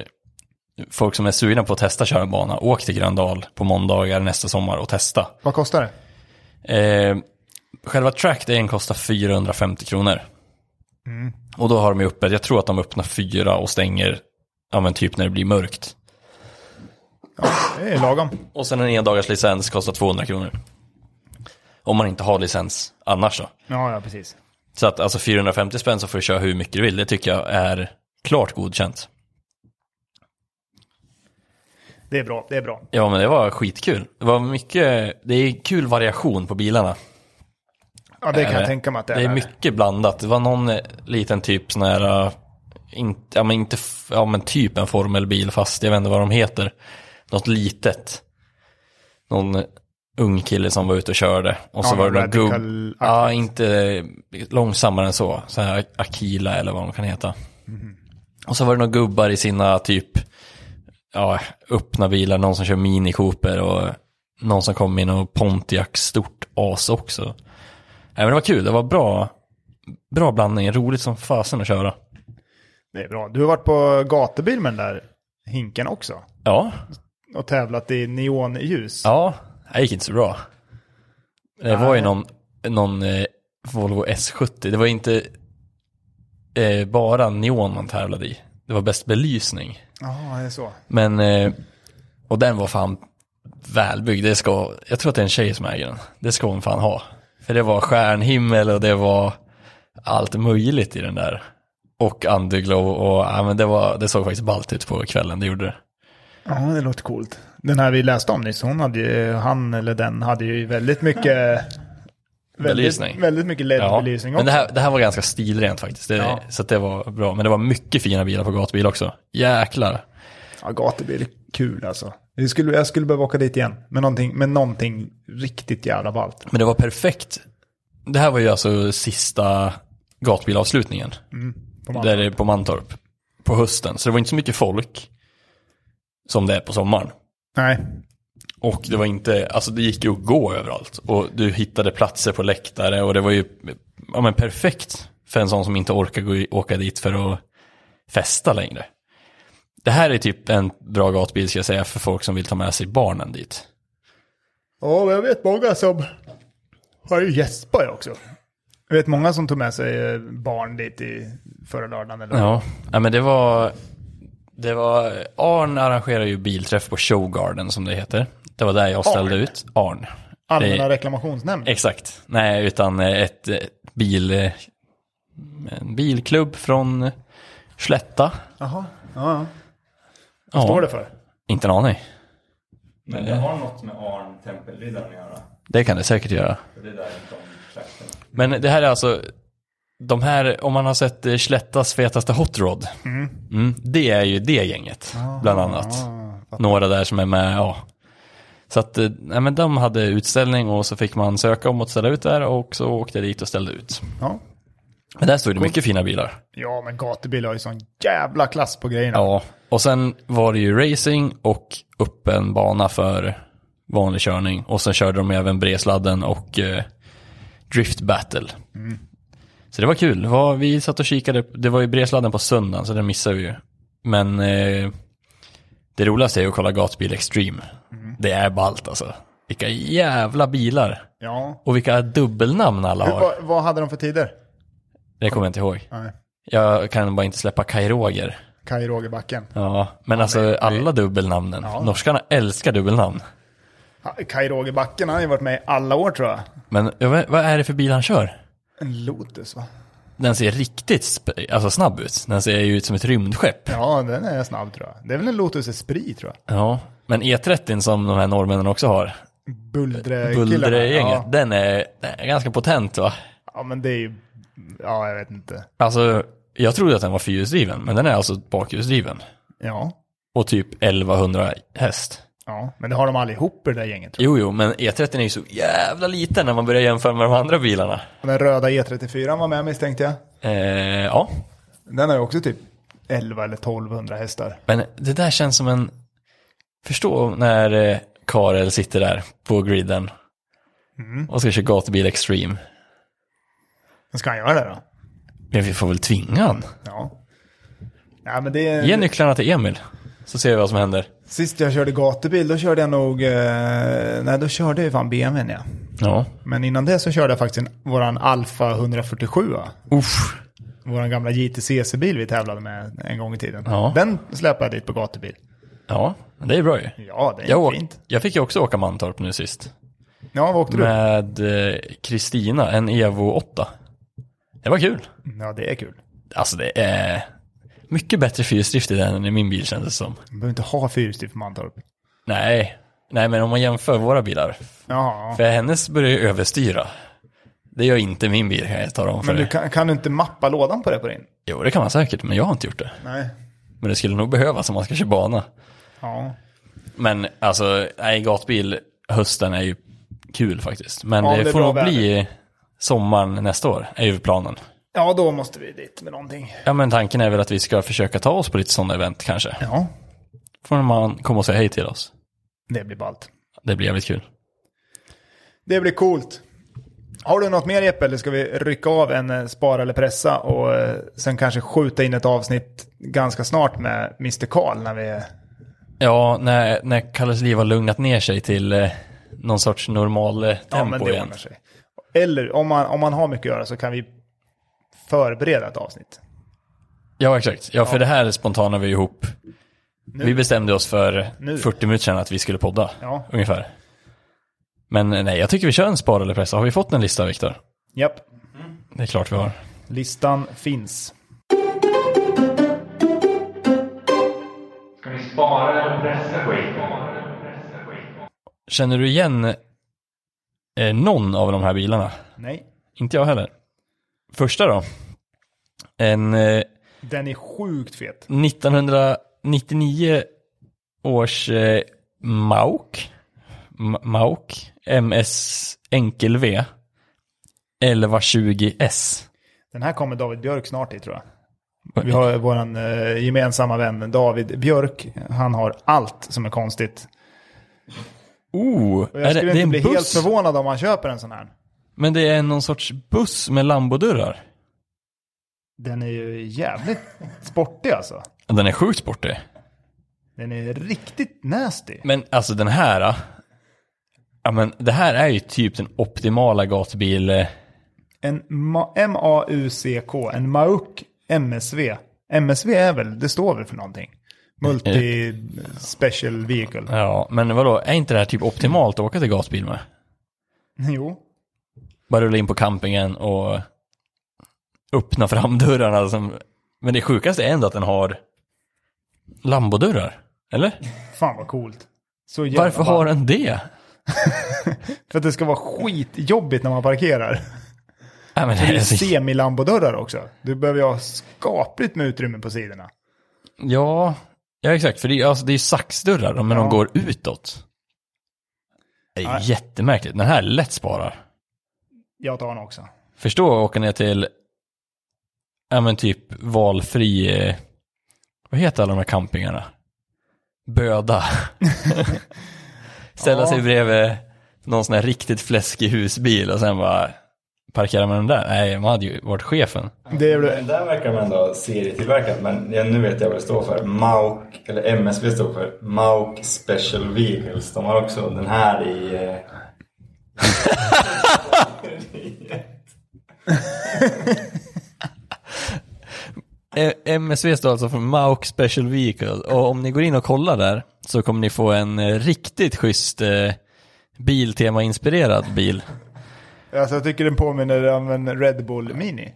[SPEAKER 2] folk som är sugna på att testa köra bana, åk till Gröndal på måndagar nästa sommar och testa.
[SPEAKER 1] Vad kostar det?
[SPEAKER 2] Eh, själva trackdayen kostar 450 kronor. Och då har de ju öppet, jag tror att de öppnar fyra och stänger, ja men typ när det blir mörkt.
[SPEAKER 1] Det är lagom.
[SPEAKER 2] Och sen en endagars licens kostar 200 kronor. Om man inte har licens annars då.
[SPEAKER 1] Ja, ja, precis.
[SPEAKER 2] Så att alltså 450 spänn så får du köra hur mycket du vill, det tycker jag är klart godkänt.
[SPEAKER 1] Det är bra, det är bra.
[SPEAKER 2] Ja men det var skitkul. Det var mycket, det är kul variation på bilarna.
[SPEAKER 1] Ja, det kan jag
[SPEAKER 2] Eh,
[SPEAKER 1] tänka mig att det är.
[SPEAKER 2] Det är mycket blandat. Det var någon eh, liten typ sån här, eh, inte, ja men inte, f- ja men typ en formelbil fast jag vet inte vad de heter. Något litet. Någon eh, ung kille som var ute och körde. Och så
[SPEAKER 1] Ja,
[SPEAKER 2] var
[SPEAKER 1] någon
[SPEAKER 2] det någon gubb.
[SPEAKER 1] radical
[SPEAKER 2] Ja, inte eh, långsammare än så. Så här Akila eller vad de kan heta.
[SPEAKER 1] Mhm.
[SPEAKER 2] Och så var det några gubbar i sina typ, ja, öppna bilar. Någon som kör Mini Cooper och någon som kom in och Pontiac stort as också. Nej, men det var kul, det var bra, bra blandning, roligt som fasen att köra.
[SPEAKER 1] Det är bra. Du har varit på gatubil med den där hinken också.
[SPEAKER 2] Ja,
[SPEAKER 1] Och tävlat i neonljus.
[SPEAKER 2] ja, det gick inte så bra. Det var ju någon, någon eh, Volvo S70, det var inte eh, bara neon man tävlade i. Det var bäst belysning.
[SPEAKER 1] Jaha, det är så.
[SPEAKER 2] Men, eh, och den var fan välbyggd, det ska, jag tror att det är en tjej som äger den. Det ska hon fan ha. För det var stjärnhimmel och det var allt möjligt i den där. Och underglow och, ja men det var, det såg faktiskt ballt ut på kvällen, det gjorde det.
[SPEAKER 1] Ja, det låter coolt. Den här vi läste om nyss, hon hade ju, han eller den hade ju väldigt
[SPEAKER 2] [laughs]
[SPEAKER 1] mycket...
[SPEAKER 2] Belysning.
[SPEAKER 1] Väldigt, väldigt mycket LED-belysning
[SPEAKER 2] men det
[SPEAKER 1] också.
[SPEAKER 2] här, det här var ganska stilrent faktiskt, det,
[SPEAKER 1] Ja.
[SPEAKER 2] så att det var bra. Men det var mycket fina bilar på gatubil också. Jäklar.
[SPEAKER 1] Ja, gatubil är kul alltså. Jag skulle, jag skulle behöva åka dit igen. Med någonting, med någonting riktigt jävla ballt.
[SPEAKER 2] Men det var perfekt. Det här var ju alltså sista gatbilavslutningen.
[SPEAKER 1] På Malmö.
[SPEAKER 2] där det är på Mantorp. På hösten, så det var inte så mycket folk. Som det är på sommaren.
[SPEAKER 1] Nej.
[SPEAKER 2] Och det var inte, alltså det gick ju att gå överallt. Och du hittade platser på läktare och det var ju ja, men perfekt för en sån som inte orkar gå, i- åka dit för att festa längre. Det här är typ en bra gatbil ska jag säga för folk som vill ta med sig barnen dit.
[SPEAKER 1] Ja, men jag vet många som... Har ju gäspat jag också. Jag vet många som tog med sig eh, barn dit i förra lördagen. Eller?
[SPEAKER 2] Ja, ja men det var, det var, Arn arrangerar ju bilträff på Showgarden som det heter. Det var där jag ställde
[SPEAKER 1] Arn?
[SPEAKER 2] ut, Arn.
[SPEAKER 1] Allmänna
[SPEAKER 2] Det-
[SPEAKER 1] reklamationsnämnden.
[SPEAKER 2] Exakt. Nej, utan eh, ett eh, bil, eh, en bilklubb från Slätta.
[SPEAKER 1] Jaha. Ja, ja.
[SPEAKER 2] Vad
[SPEAKER 1] Står det för?
[SPEAKER 2] Inte en aning.
[SPEAKER 3] Men det har något med Arn Tempelriddaren att göra.
[SPEAKER 2] Det kan det säkert göra.
[SPEAKER 3] För det är därifrån trakten.
[SPEAKER 2] Men det här är alltså, de här, om man har sett eh, Slättas fetaste Hot Rod, Mm, det är ju det gänget,
[SPEAKER 1] Ah,
[SPEAKER 2] bland annat. Några där som är med, ja. Så att, eh, nej men de hade utställning och så fick man söka om att ställa ut där och så åkte jag dit och ställde ut.
[SPEAKER 1] Ja.
[SPEAKER 2] Men där stod det mycket fina bilar.
[SPEAKER 1] Ja, men gatubil har ju sån jävla klass på grejerna.
[SPEAKER 2] Ja, och sen var det ju racing och öppen bana för vanlig körning. Och sen körde de även bredsladden och eh, drift battle. Så det var kul. Det var- Vi satt och kikade, det var ju bredsladden på söndagen så den missade vi ju. Men eh, det roligaste är ju att kolla gatbil extreme. Det är ballt alltså. Vilka jävla bilar.
[SPEAKER 1] Ja.
[SPEAKER 2] Och vilka dubbelnamn alla
[SPEAKER 1] Hur,
[SPEAKER 2] har.
[SPEAKER 1] vad, vad hade de för tider?
[SPEAKER 2] Det kommer jag inte ihåg.
[SPEAKER 1] Nej.
[SPEAKER 2] Jag kan bara inte släppa Kai Roger.
[SPEAKER 1] Kaj Rogerbacken.
[SPEAKER 2] Ja, men alltså alla dubbelnamnen. Norskarna älskar dubbelnamn.
[SPEAKER 1] Ha- Kaj Rogerbacken han har ju varit med i alla år tror jag.
[SPEAKER 2] Men jag vet- vad är det för bil han kör?
[SPEAKER 1] En Lotus va?
[SPEAKER 2] Den ser riktigt sp- alltså, snabb ut. Den ser ju ut som ett rymdskepp.
[SPEAKER 1] Ja, den är snabb tror jag. Det är väl en Lotus Esprit tror jag.
[SPEAKER 2] Ja, men E30 som de här norrmännen också har,
[SPEAKER 1] Buldre-killarna.
[SPEAKER 2] Buldregänget,
[SPEAKER 1] Ja.
[SPEAKER 2] den, är, den är ganska potent va?
[SPEAKER 1] ja, men det är ju... Ja, jag vet inte.
[SPEAKER 2] Alltså, jag trodde att den var fyrhjulsdriven, men den är alltså bakhjulsdriven.
[SPEAKER 1] Ja.
[SPEAKER 2] Och typ 1100 häst.
[SPEAKER 1] Ja, men det har de allihop i det där gänget tror
[SPEAKER 2] Jo, jo, men E30 är ju så jävla liten när man börjar jämföra med de andra bilarna.
[SPEAKER 1] jag. Den röda E34 var med misstänkte jag.
[SPEAKER 2] Eh, ja,
[SPEAKER 1] Den har ju också typ 11 eller 1200 hästar.
[SPEAKER 2] Men det där känns som en... Förstå när eh, Karel sitter där på griden
[SPEAKER 1] Mm.
[SPEAKER 2] och ska köra gatubil extreme.
[SPEAKER 1] Men ska han göra det då?
[SPEAKER 2] Men vi får väl tvinga han.
[SPEAKER 1] Ja. Ja, men det är...
[SPEAKER 2] Ge nycklarna till Emil, så ser vi vad som händer.
[SPEAKER 1] Sist jag körde gatubil, då körde jag nog... Eh, nej, då körde jag ju fan BMWn ja.
[SPEAKER 2] Ja.
[SPEAKER 1] Men innan det så körde jag faktiskt en, våran Alfa 147. va?
[SPEAKER 2] Uff.
[SPEAKER 1] vår gamla JTCC-bil vi tävlade med en gång i tiden.
[SPEAKER 2] Ja.
[SPEAKER 1] Den släpade jag dit på gatubil.
[SPEAKER 2] Ja, men det är bra ju.
[SPEAKER 1] Ja, det är
[SPEAKER 2] Jag, åk,
[SPEAKER 1] fint.
[SPEAKER 2] jag fick ju också åka Mantorp nu sist.
[SPEAKER 1] Ja, vad åkte du?
[SPEAKER 2] Med eh, Kristina, en Evo 8. Det var kul.
[SPEAKER 1] Ja, det är kul.
[SPEAKER 2] Alltså det är mycket bättre fyrstrift i den än i min bil kändes det som.
[SPEAKER 1] Man behöver inte ha fyrhjulsdrift på Mantorp.
[SPEAKER 2] Nej, nej men om man jämför våra bilar.
[SPEAKER 1] Jaha.
[SPEAKER 2] För hennes börjar ju överstyra. Det gör inte min bil kan jag tala om för
[SPEAKER 1] Men du
[SPEAKER 2] dig.
[SPEAKER 1] kan, kan du inte mappa lådan på det på din?
[SPEAKER 2] Jo, det kan man säkert, men jag har inte gjort det.
[SPEAKER 1] Nej.
[SPEAKER 2] Men det skulle nog behövas om man ska köra bana.
[SPEAKER 1] Ja.
[SPEAKER 2] Men alltså, nej, gatbil hösten är ju kul faktiskt. Men
[SPEAKER 1] Ja,
[SPEAKER 2] det,
[SPEAKER 1] det är
[SPEAKER 2] får
[SPEAKER 1] bra
[SPEAKER 2] nog bli sommaren nästa år, är ju planen.
[SPEAKER 1] Ja, då måste vi dit med någonting.
[SPEAKER 2] Ja, men tanken är väl att vi ska försöka ta oss på lite sådana event kanske.
[SPEAKER 1] Ja,
[SPEAKER 2] Får man komma och säga hej till oss.
[SPEAKER 1] det blir ballt.
[SPEAKER 2] Det blir jävligt kul.
[SPEAKER 1] Det blir coolt. Har du något mer Jeppe eller ska vi rycka av en eh, spara eller pressa och eh, sen kanske skjuta in ett avsnitt ganska snart med Mr. Karl när vi...
[SPEAKER 2] Ja, när, när Kalles liv har lugnat ner sig till eh, någon sorts normal eh,
[SPEAKER 1] Ja,
[SPEAKER 2] tempo
[SPEAKER 1] men det
[SPEAKER 2] igen.
[SPEAKER 1] ordnar sig. Eller om man, om man har mycket att göra så kan vi förbereda ett avsnitt.
[SPEAKER 2] Ja, exakt. Ja, för det här spontanar vi ihop. Vi bestämde oss för
[SPEAKER 1] Nu.
[SPEAKER 2] 40 minuter sedan att vi skulle podda,
[SPEAKER 1] Ja.
[SPEAKER 2] ungefär. Men eh, nej, jag tycker vi kör en spar eller pressa. Har vi fått en lista, Viktor?
[SPEAKER 1] Japp,
[SPEAKER 2] Det är klart vi har.
[SPEAKER 1] listan finns.
[SPEAKER 4] Ska vi spara eller pressa skiten?
[SPEAKER 2] Känner du igen eh, någon av de här bilarna?
[SPEAKER 1] Nej,
[SPEAKER 2] Inte jag heller. Första då. En eh,
[SPEAKER 1] den är sjukt fet.
[SPEAKER 2] 1999 års eh, Mauk. M- Mauk. MS enkel V. 1120S.
[SPEAKER 1] Den här kommer David Björk snart i tror jag. Vi har vår eh, gemensamma vän David Björk. Han har allt som är konstigt.
[SPEAKER 2] Oh,
[SPEAKER 1] Och jag
[SPEAKER 2] är det,
[SPEAKER 1] skulle
[SPEAKER 2] det
[SPEAKER 1] inte
[SPEAKER 2] är en
[SPEAKER 1] bli helt
[SPEAKER 2] buss.
[SPEAKER 1] förvånad om han köper en sån här.
[SPEAKER 2] Men det är någon sorts buss med lambodörrar.
[SPEAKER 1] Den är ju jävligt sportig alltså.
[SPEAKER 2] Ja, Den är sjukt sportig.
[SPEAKER 1] Den är riktigt nasty.
[SPEAKER 2] Men alltså den här. ah. Ja men det här är ju typ den optimala gatbil. eh,
[SPEAKER 1] En Ma- M-A-U-C-K, en Mauk MSV. MSV är väl, det står väl för någonting? Multi Special Vehicle. [laughs]
[SPEAKER 2] Ja men vadå, är inte det här typ optimalt att åka till gatbil med?
[SPEAKER 1] Jo,
[SPEAKER 2] Bara rulla in på campingen och öppna [laughs] framdörrarna. Som... Men det sjukaste är ändå att den har lambodörrar. Eller?
[SPEAKER 1] fan vad coolt. Så jävla
[SPEAKER 2] Varför
[SPEAKER 1] ball.
[SPEAKER 2] har den det?
[SPEAKER 1] För att det ska vara skitjobbigt när man
[SPEAKER 2] [laughs]
[SPEAKER 1] parkerar.
[SPEAKER 2] Nej, men alltså, det
[SPEAKER 1] Det är
[SPEAKER 2] är så...
[SPEAKER 1] semilambodörrar också. Du behöver ju ha skapligt med utrymme på sidorna.
[SPEAKER 2] Ja, ja exakt. För det är ju alltså, det är ju saxdörrar men
[SPEAKER 1] Ja.
[SPEAKER 2] de går utåt. Det är
[SPEAKER 1] Nej.
[SPEAKER 2] jättemärkligt. Den här lätt sparar.
[SPEAKER 1] Jag tar den också.
[SPEAKER 2] Förstå att åka ner till, ja men typ valfri, eh, vad heter alla de här campingarna? [laughs] Böda. Ställa sig bredvid någon sån här riktigt fläskig husbil och sen bara parkera med den där. Nej, man hade ju varit chefen.
[SPEAKER 1] Det är väl
[SPEAKER 3] Den där verkar man ändå serietillverkad, men jag, nu vet jag vad det står för. MAUK, eller MSV står för MAUK Special Vehicles. De har också den här i... eh,
[SPEAKER 2] Eh, MSV står alltså för Mauk Special Vehicle och om ni går in och kollar där så kommer ni få en eh, riktigt schysst eh, Biltema-inspirerad bil.
[SPEAKER 1] Alltså jag tycker den påminner om en Red Bull Mini.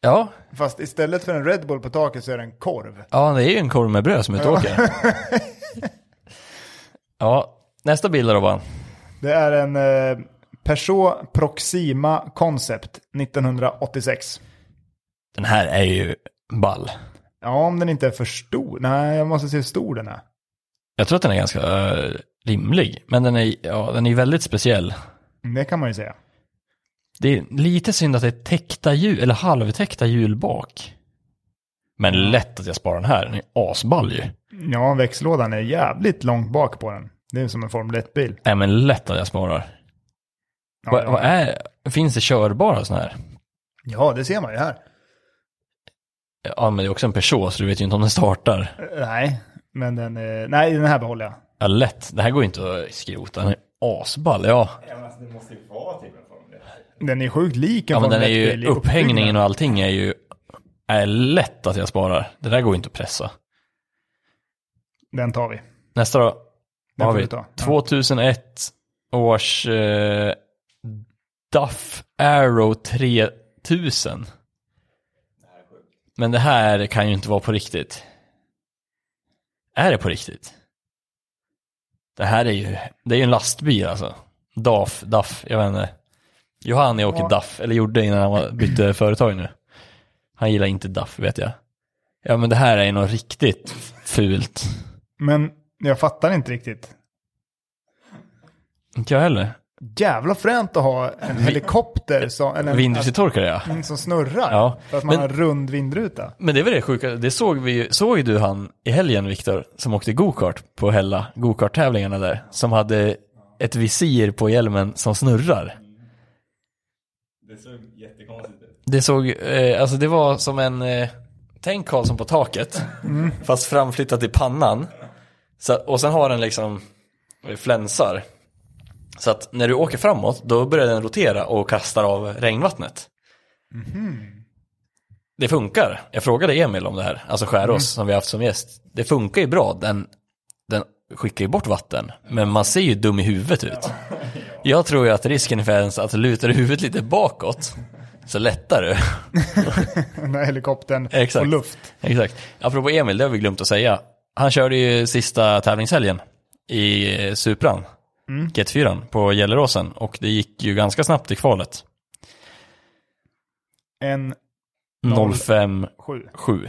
[SPEAKER 2] Ja,
[SPEAKER 1] Fast istället för en Red Bull på taket så är det en korv.
[SPEAKER 2] Ja, det är ju en korv med bröd som är åker. [laughs] ja, nästa bild då Robban.
[SPEAKER 1] Det är en eh, Peugeot Proxima Concept 1986.
[SPEAKER 2] Den här är ju ball.
[SPEAKER 1] Ja, om den inte är för stor. Nej, jag måste se hur stor den är.
[SPEAKER 2] Jag tror att den är ganska eh, rimlig, men den är, ja, den är väldigt speciell.
[SPEAKER 1] Det kan man ju säga.
[SPEAKER 2] Det är lite synd att det är täckta hjul, eller halvtäckta hjul bak. Men lätt att jag sparar den här, den är asball ju.
[SPEAKER 1] Ja, växellådan är jävligt långt bak på den. Det är som en Formel 1-bil.
[SPEAKER 2] Nej men lätt att jag sparar.
[SPEAKER 1] Ja,
[SPEAKER 2] Vad-
[SPEAKER 1] ja.
[SPEAKER 2] vad är, finns det körbara sådana här?
[SPEAKER 1] ja, det ser man ju här.
[SPEAKER 2] Ja men det är också en Peugeot så du vet ju inte om den startar.
[SPEAKER 1] Eh, Nej, men den, eh, nej, den här behåller jag.
[SPEAKER 2] Ja, lätt. Det här går ju inte att skrota. Den är asball. Ja,
[SPEAKER 3] Ja, men alltså, det måste ju vara typ en Formel 1.
[SPEAKER 1] Den är sjukt lik en
[SPEAKER 2] Ja, men
[SPEAKER 1] Formel
[SPEAKER 2] den är ju,
[SPEAKER 1] 1-bil i uppbyggnaden.
[SPEAKER 2] upphängningen och allting är ju är lätt att jag sparar. Det där går ju inte att pressa.
[SPEAKER 1] Den tar vi.
[SPEAKER 2] Nästa då.
[SPEAKER 1] Den
[SPEAKER 2] Vad har
[SPEAKER 1] får
[SPEAKER 2] vi?
[SPEAKER 1] du ta. Ja.
[SPEAKER 2] 2001 års eh, Duff Arrow 3000. Men det här kan ju inte vara på riktigt. Är det på riktigt? Det här är ju, det är ju en lastbil alltså. DAF, DAF, jag vet inte. Johanni åker
[SPEAKER 1] Ja.
[SPEAKER 2] DAF, eller gjorde innan han var-
[SPEAKER 1] [clears throat]
[SPEAKER 2] bytte företag nu. Han gillar inte DAF vet jag. Ja men det här är ju något riktigt fult.
[SPEAKER 1] Men jag fattar inte riktigt.
[SPEAKER 2] Inte jag heller.
[SPEAKER 1] Jävla fränt att ha en helikopter som, eller en,
[SPEAKER 2] Vindrutetorkare ja.
[SPEAKER 1] alltså, som snurrar.
[SPEAKER 2] Ja,
[SPEAKER 1] För att man
[SPEAKER 2] men-
[SPEAKER 1] har rund vindruta.
[SPEAKER 2] Men det var det sjuka, det såg vi ju, såg ju du han i helgen Viktor, som åkte gokart på Hälla, gokart-tävlingarna där, som hade ett visir på hjälmen som snurrar.
[SPEAKER 3] Det såg jättekonstigt ut.
[SPEAKER 2] Det såg, eh, alltså det var som en, eh, tänk Karlsson på taket, fast framflyttat i pannan. Så, att- och sen har den liksom eh, flänsar. Så att när du åker framåt, då börjar den rotera och kastar av regnvattnet. Det funkar. Jag frågade Emil om det här, alltså Skärås som vi har haft som gäst. Det funkar ju bra, den, den skickar ju bort vatten. Men man ser ju dum i huvudet ut. Jag tror ju att risken finns att lutar du huvudet lite bakåt så lättar du.
[SPEAKER 1] Den här helikoptern
[SPEAKER 2] [laughs] Exakt.
[SPEAKER 1] och luft.
[SPEAKER 2] Exakt. Apropå Emil, det har vi glömt att säga. Han körde ju sista tävlingshelgen i eh, Supran,
[SPEAKER 1] Mm.
[SPEAKER 2] GT4 på Gelleråsen och det gick ju ganska snabbt i kvalet.
[SPEAKER 1] En
[SPEAKER 2] 05.7.
[SPEAKER 1] sju.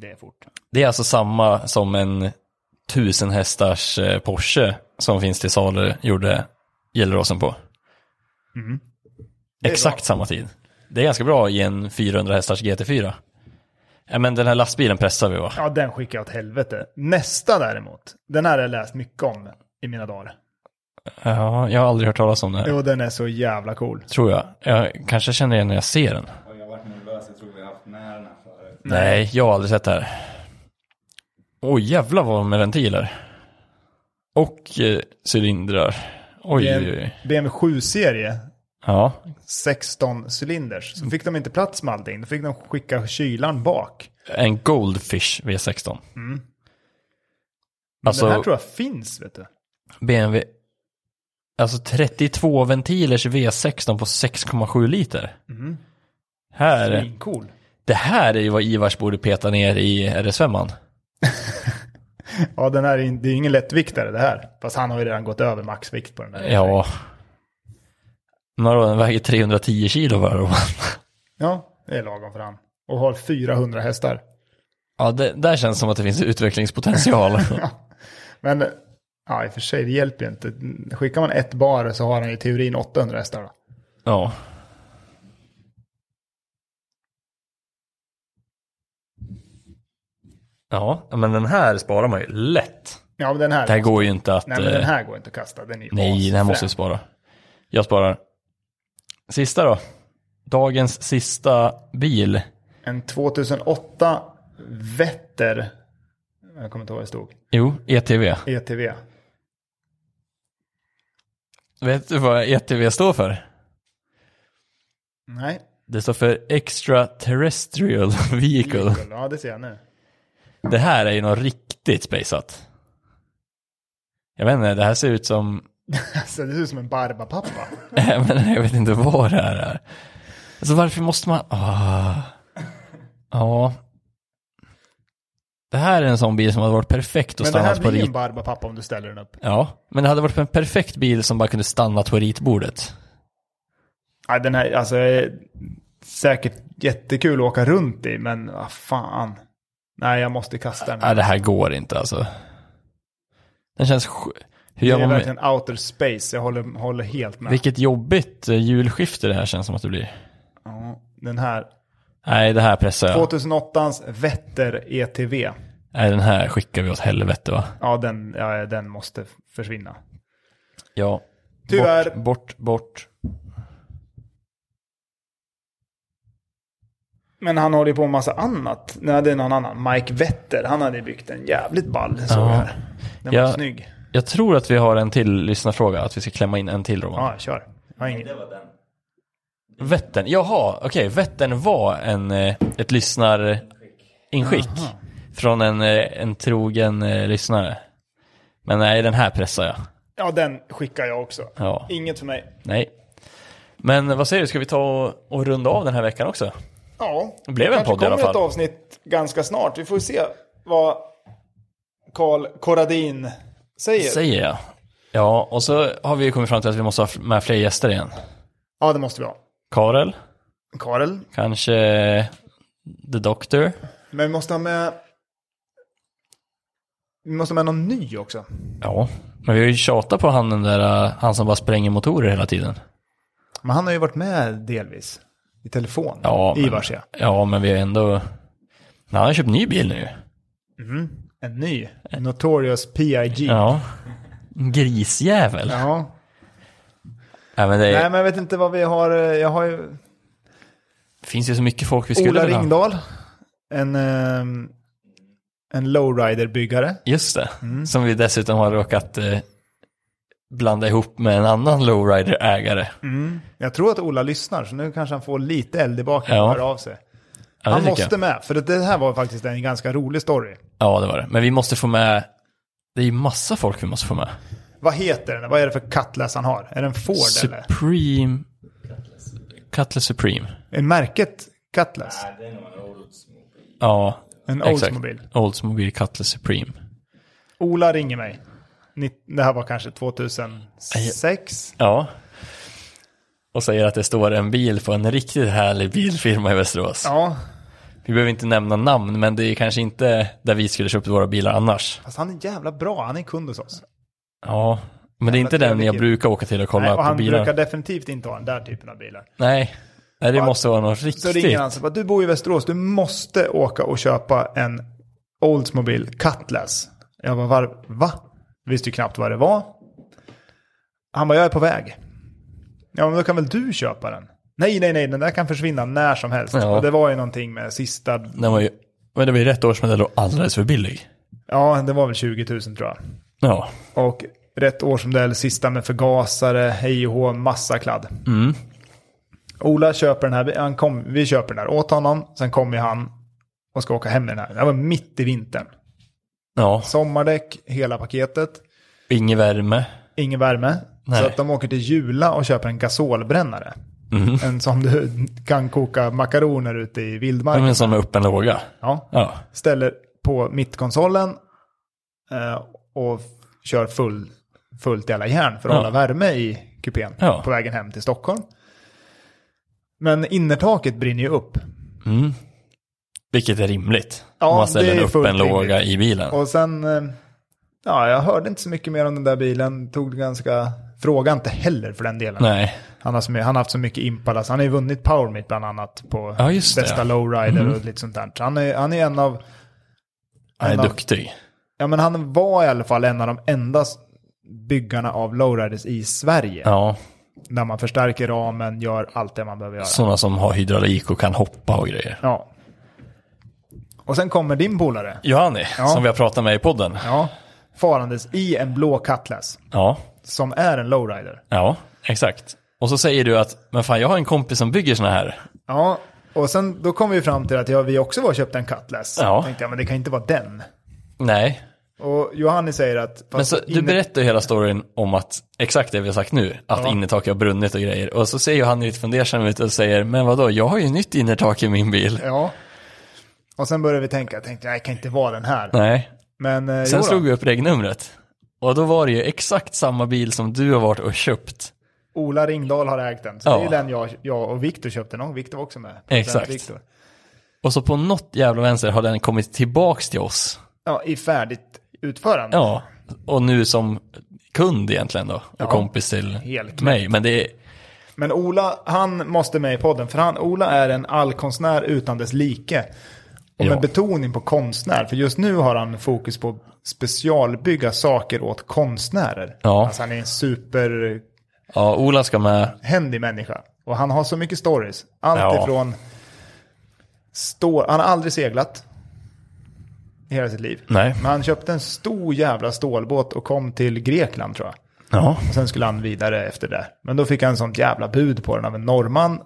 [SPEAKER 1] Det är fort.
[SPEAKER 2] Det är alltså samma som en 1000 hästars eh, Porsche som finns till salu gjorde Gelleråsen på.
[SPEAKER 1] Mm. är
[SPEAKER 2] Exakt
[SPEAKER 1] bra.
[SPEAKER 2] samma tid. Det är ganska bra i en 400 hästars GT4. Ja, men den här lastbilen pressar vi va?
[SPEAKER 1] Ja, den skickar jag åt helvete. Nästa däremot, den här har jag läst mycket om i mina dagar.
[SPEAKER 2] Ja, jag har aldrig hört talas om det här.
[SPEAKER 1] Jo, den är så jävla cool.
[SPEAKER 2] Tror jag. Jag kanske känner igen när jag ser den.
[SPEAKER 3] Och jag varit nervös, jag tror vi har haft med den här förut.
[SPEAKER 2] Nej, jag har aldrig sett det här. Oj, jävlar vad med ventiler. Och eh, cylindrar. Oj,
[SPEAKER 1] Det är
[SPEAKER 2] oj,
[SPEAKER 1] en
[SPEAKER 2] oj.
[SPEAKER 1] BMW 7-serie,
[SPEAKER 2] Ja,
[SPEAKER 1] 16 cylinders. Så fick de inte plats med allting, då fick de skicka kylan bak.
[SPEAKER 2] en Goldfish V16.
[SPEAKER 1] Men
[SPEAKER 2] Alltså-
[SPEAKER 1] den Mm. här tror jag finns, vet du.
[SPEAKER 2] BMW. Alltså 32 ventilers V16 på 6,7 liter.
[SPEAKER 1] Mm.
[SPEAKER 2] Här,
[SPEAKER 1] Svincool.
[SPEAKER 2] det här är ju vad Ivars borde peta ner i RS5an.
[SPEAKER 1] Ja, den här är, det är ju ingen lättviktare det här. Fast han har ju redan gått över maxvikt på den där.
[SPEAKER 2] Ja. Men vadå, den väger 310 kilo bara.
[SPEAKER 1] Ja, det är lagom för han. Och har 400 hästar.
[SPEAKER 2] Ja, det, där känns som att det finns [laughs] utvecklingspotential.
[SPEAKER 1] Men ja, i och för sig, det hjälper ju inte. Skickar man ett bar så har han i teorin 800 hästar. Då.
[SPEAKER 2] ja. Ja, men den här sparar man ju lätt.
[SPEAKER 1] Ja, men den här,
[SPEAKER 2] Det här går ju inte att...
[SPEAKER 1] nej, men den
[SPEAKER 2] eh,
[SPEAKER 1] här går inte att kasta. Den är ju
[SPEAKER 2] nej den här
[SPEAKER 1] asfrän.
[SPEAKER 2] måste vi spara. Jag sparar. Sista då. Dagens sista bil.
[SPEAKER 1] En 2008 Vetter. Jag kommer inte ihåg vad det stod. E
[SPEAKER 2] Jo, E ETV.
[SPEAKER 1] ETV.
[SPEAKER 2] Vet du vad ETV står för?
[SPEAKER 1] Nej.
[SPEAKER 2] Det står för Extraterrestrial [laughs] Vehicle.
[SPEAKER 1] Ja, det ser jag nu.
[SPEAKER 2] Det här är ju något riktigt spejsat. Jag vet inte, det här ser ut som... [laughs]
[SPEAKER 1] Alltså, det ser ut som en barbapappa.
[SPEAKER 2] Äh, men jag vet inte vad det här är. Alltså varför måste man... Ah. Ja. Det här är en sån bil som hade varit perfekt att
[SPEAKER 1] Men det
[SPEAKER 2] stanna
[SPEAKER 1] här
[SPEAKER 2] på
[SPEAKER 1] blir ju en
[SPEAKER 2] rit...
[SPEAKER 1] barbapappa om du ställer den upp.
[SPEAKER 2] Ja, men det hade varit en perfekt bil som bara kunde stanna på ritbordet.
[SPEAKER 1] Nej, den här, alltså, är säkert jättekul att åka runt i, men vad fan. Nej, jag måste kasta
[SPEAKER 2] Nej,
[SPEAKER 1] den.
[SPEAKER 2] det här går inte alltså. Den känns... sj- Hur
[SPEAKER 1] Det
[SPEAKER 2] gör
[SPEAKER 1] är
[SPEAKER 2] man med...
[SPEAKER 1] verkligen outer space, jag håller, håller helt med.
[SPEAKER 2] Vilket jobbigt eh, julskifte det här känns som att det blir.
[SPEAKER 1] Ja, den här.
[SPEAKER 2] Nej, det här pressar jag.
[SPEAKER 1] 2008ans Vetter ETV.
[SPEAKER 2] Nej, den här skickar vi åt helvete va?
[SPEAKER 1] Ja, den, ja, den måste försvinna.
[SPEAKER 2] Ja.
[SPEAKER 1] Tyvärr.
[SPEAKER 2] Bort, bort, bort.
[SPEAKER 1] Men han håller ju på med massa annat. Nej, det är någon annan. Mike Vetter, han hade byggt en jävligt ball. Såg jag
[SPEAKER 2] Ja.
[SPEAKER 1] här. Den var
[SPEAKER 2] Ja.
[SPEAKER 1] snygg.
[SPEAKER 2] Jag tror att vi har en till lyssnarfråga, att vi ska klämma in en till Roman.
[SPEAKER 1] Ja, kör. Jag har ingen...
[SPEAKER 3] Det var den.
[SPEAKER 2] Vättern, jaha, okej. Vättern var en, eh, ett lyssnarinskick från en, eh, en trogen eh, lyssnare. Men nej, den här pressar jag.
[SPEAKER 1] Ja, den skickar jag också.
[SPEAKER 2] Ja.
[SPEAKER 1] Inget för mig.
[SPEAKER 2] Nej. Men vad säger du, ska vi ta och, och runda av den här veckan också?
[SPEAKER 1] Ja,
[SPEAKER 2] Det blev en
[SPEAKER 1] kanske
[SPEAKER 2] podd i alla
[SPEAKER 1] kommer ett
[SPEAKER 2] fall.
[SPEAKER 1] avsnitt ganska snart. Vi får se vad Karl Corradin säger.
[SPEAKER 2] Säger jag. Ja, och så har vi ju kommit fram till att vi måste ha f- med fler gäster igen.
[SPEAKER 1] Ja, det måste vi ha.
[SPEAKER 2] Karel,
[SPEAKER 1] Karel.
[SPEAKER 2] kanske eh, The Doctor.
[SPEAKER 1] Men vi måste ha med... Vi måste ha med någon ny också.
[SPEAKER 2] Ja, men vi har ju tjatat på han den där, eh, han som bara spränger motorer hela tiden.
[SPEAKER 1] Men han har ju varit med delvis. I telefon.
[SPEAKER 2] Ja,
[SPEAKER 1] I
[SPEAKER 2] men-
[SPEAKER 1] Varsia.
[SPEAKER 2] Ja, men vi har ändå... Nej, han har köpt ny bil nu.
[SPEAKER 1] En ny. Notorious PIG.
[SPEAKER 2] Ja. En Grisjävel.
[SPEAKER 1] Ja.
[SPEAKER 2] Nej, men det är,
[SPEAKER 1] Nej, men jag vet inte vad vi har. eh, Jag har ju
[SPEAKER 2] finns ju så mycket folk vi skulle
[SPEAKER 1] Ola
[SPEAKER 2] vilja ha.
[SPEAKER 1] Ringdahl. En, ehm, en lowrider-byggare.
[SPEAKER 2] Just det.
[SPEAKER 1] Mm.
[SPEAKER 2] Som vi dessutom har råkat eh, blanda ihop med en annan lowrider-ägare.
[SPEAKER 1] Mm. Jag tror att Ola lyssnar, så nu kanske han får lite eld i baken
[SPEAKER 2] Ja.
[SPEAKER 1] och hör av sig.
[SPEAKER 2] Ja, det
[SPEAKER 1] Han
[SPEAKER 2] tycker
[SPEAKER 1] måste
[SPEAKER 2] jag.
[SPEAKER 1] med, för det här var faktiskt en ganska rolig story.
[SPEAKER 2] ja, det var det. Men vi måste få med... Det är ju massa folk vi måste få med.
[SPEAKER 1] Vad heter den? Vad är det för cutlass han har? Är det en Ford eller?
[SPEAKER 2] Supreme... Cutlass Supreme.
[SPEAKER 1] Är märket Cutlass?
[SPEAKER 3] Nej, det är nog en Oldsmobile.
[SPEAKER 2] Ja,
[SPEAKER 1] En
[SPEAKER 2] exakt.
[SPEAKER 1] Oldsmobile.
[SPEAKER 2] Oldsmobile Cutlass Supreme.
[SPEAKER 1] Ola ringer mig. Ni- Det här var kanske 2006.
[SPEAKER 2] Ja. Och säger att det står en bil på en riktigt härlig bilfirma i Västerås.
[SPEAKER 1] Ja,
[SPEAKER 2] Vi behöver inte nämna namn, men det är kanske inte där vi skulle köpt våra bilar annars.
[SPEAKER 1] fast han är jävla bra. Han är kund hos oss.
[SPEAKER 2] Ja, men det är inte
[SPEAKER 1] trevlig
[SPEAKER 2] den jag
[SPEAKER 1] kille.
[SPEAKER 2] brukar åka till och kolla
[SPEAKER 1] Nej, och
[SPEAKER 2] på
[SPEAKER 1] han
[SPEAKER 2] bilar.
[SPEAKER 1] brukar definitivt inte ha den där typen av bilar.
[SPEAKER 2] Nej. Nej, det
[SPEAKER 1] Ja.
[SPEAKER 2] måste vara något
[SPEAKER 1] Så ringer
[SPEAKER 2] riktigt.
[SPEAKER 1] han och säger du bor i Västerås, du måste åka och köpa en Oldsmobile Cutlass. Jag bara, var, va? Visste ju knappt vad det var. Han bara, jag är på väg. Ja, men då kan väl du köpa den? Nej, nej, nej, den där kan försvinna när som helst.
[SPEAKER 2] Ja.
[SPEAKER 1] Och det var ju någonting med sista,
[SPEAKER 2] Den var ju, men det var ju rätt årsmodell och alldeles för billig.
[SPEAKER 1] ja, det var väl 20 000 tror jag.
[SPEAKER 2] Ja.
[SPEAKER 1] Och rätt årsmodell, sista med förgasare, hej och hå, massa kladd. Ola köper den här, han kom, vi köper den här åt honom, sen kommer han och ska åka hem med den här. Det var mitt i vintern.
[SPEAKER 2] Ja,
[SPEAKER 1] Sommardäck, hela paketet,
[SPEAKER 2] ingen värme.
[SPEAKER 1] ingen värme.
[SPEAKER 2] Nej.
[SPEAKER 1] Så att de åker till Jula och köper en gasolbrännare. En som du kan koka makaroner ute i
[SPEAKER 2] Det var
[SPEAKER 1] vildmarken.
[SPEAKER 2] en sån med öppen låga.
[SPEAKER 1] Ja.
[SPEAKER 2] Ja.
[SPEAKER 1] Ställer på mittkonsolen eh, och kör full, fullt jävla järn för att
[SPEAKER 2] Ja.
[SPEAKER 1] hålla värme i kupén
[SPEAKER 2] Ja.
[SPEAKER 1] på vägen hem till Stockholm. Men innertaket brinner ju upp.
[SPEAKER 2] Vilket är rimligt.
[SPEAKER 1] Ja,
[SPEAKER 2] Om man
[SPEAKER 1] det
[SPEAKER 2] ställer
[SPEAKER 1] är
[SPEAKER 2] en öppen
[SPEAKER 1] fullt
[SPEAKER 2] låga
[SPEAKER 1] rimligt.
[SPEAKER 2] i bilen.
[SPEAKER 1] Och sen, eh, ja, jag hörde inte så mycket mer om den där bilen. Tog det ganska, fråga inte heller för den delen.
[SPEAKER 2] Nej.
[SPEAKER 1] Han har, så, my- han har haft så mycket Impala, så han har ju vunnit Power Meet bland annat på
[SPEAKER 2] Ja, Mm-hmm. just det,
[SPEAKER 1] bästa
[SPEAKER 2] ja.
[SPEAKER 1] lowrider och lite sånt där. Så han är, han är en av,
[SPEAKER 2] Han
[SPEAKER 1] En
[SPEAKER 2] är
[SPEAKER 1] av-
[SPEAKER 2] duktig.
[SPEAKER 1] ja men han var i alla fall en av de enda s- byggarna av lowriders i Sverige.
[SPEAKER 2] Ja,
[SPEAKER 1] Där man förstärker ramen, gör allt det man behöver göra.
[SPEAKER 2] sådana som har hydraulik och kan hoppa och grejer.
[SPEAKER 1] Ja. Och sen kommer din polare.
[SPEAKER 2] Johanni, som vi har pratat med i podden.
[SPEAKER 1] Ja. Farandes i en blå Cutlass.
[SPEAKER 2] Ja,
[SPEAKER 1] Som är en lowrider.
[SPEAKER 2] ja, exakt. Och så säger du att, men fan jag har en kompis som bygger såna här.
[SPEAKER 1] Ja. Och sen då kom vi fram till att ja, vi också var och köpte en Cutlass.
[SPEAKER 2] Ja.
[SPEAKER 1] Tänkte jag, men det kan inte vara den.
[SPEAKER 2] Nej,
[SPEAKER 1] Och Johanni säger att...
[SPEAKER 2] men
[SPEAKER 1] fast
[SPEAKER 2] så, du
[SPEAKER 1] inne-
[SPEAKER 2] berättar ju hela storyn om att, exakt det vi har sagt nu, att innertaket har brunnit och grejer. Och så ser Johanni lite fundersam ut och säger, men vadå, jag har ju nytt innertak i min bil.
[SPEAKER 1] Ja. Och sen började vi tänka, jag tänkte, nej, det kan inte vara den här.
[SPEAKER 2] Nej,
[SPEAKER 1] Men eh,
[SPEAKER 2] sen
[SPEAKER 1] jo då.
[SPEAKER 2] slog vi upp regnumret. Och då var det ju exakt samma bil som du har varit och köpt.
[SPEAKER 1] Ola Ringdahl har ägt den. Så
[SPEAKER 2] Ja.
[SPEAKER 1] det är den jag, jag och Viktor köpte någon. Viktor var också med. Producent
[SPEAKER 2] Exakt.
[SPEAKER 1] Viktor.
[SPEAKER 2] Och så på något jävla vänster har den kommit tillbaks till oss.
[SPEAKER 1] Ja, i färdigt utförande.
[SPEAKER 2] Ja, och nu som kund egentligen då, och kompis till
[SPEAKER 1] Helt knäppt.
[SPEAKER 2] mig. Men det är,
[SPEAKER 1] Men Ola, han måste med i podden. För han, Ola är en allkonstnär utan dess like. Och med
[SPEAKER 2] Ja.
[SPEAKER 1] betoning på konstnär. För just nu har han fokus på att specialbygga saker åt konstnärer.
[SPEAKER 2] Ja.
[SPEAKER 1] Alltså han är en super
[SPEAKER 2] ja, Ola ska med,
[SPEAKER 1] händig människa. Och han har så mycket stories. Allt
[SPEAKER 2] Ja.
[SPEAKER 1] ifrån... Stå, han har aldrig seglat. I hela sitt liv.
[SPEAKER 2] Nej.
[SPEAKER 1] Men han köpte en stor jävla stålbåt och kom till Grekland tror jag.
[SPEAKER 2] ja,
[SPEAKER 1] Och sen skulle han vidare efter det. Men då fick han sånt jävla bud på den av en norrman.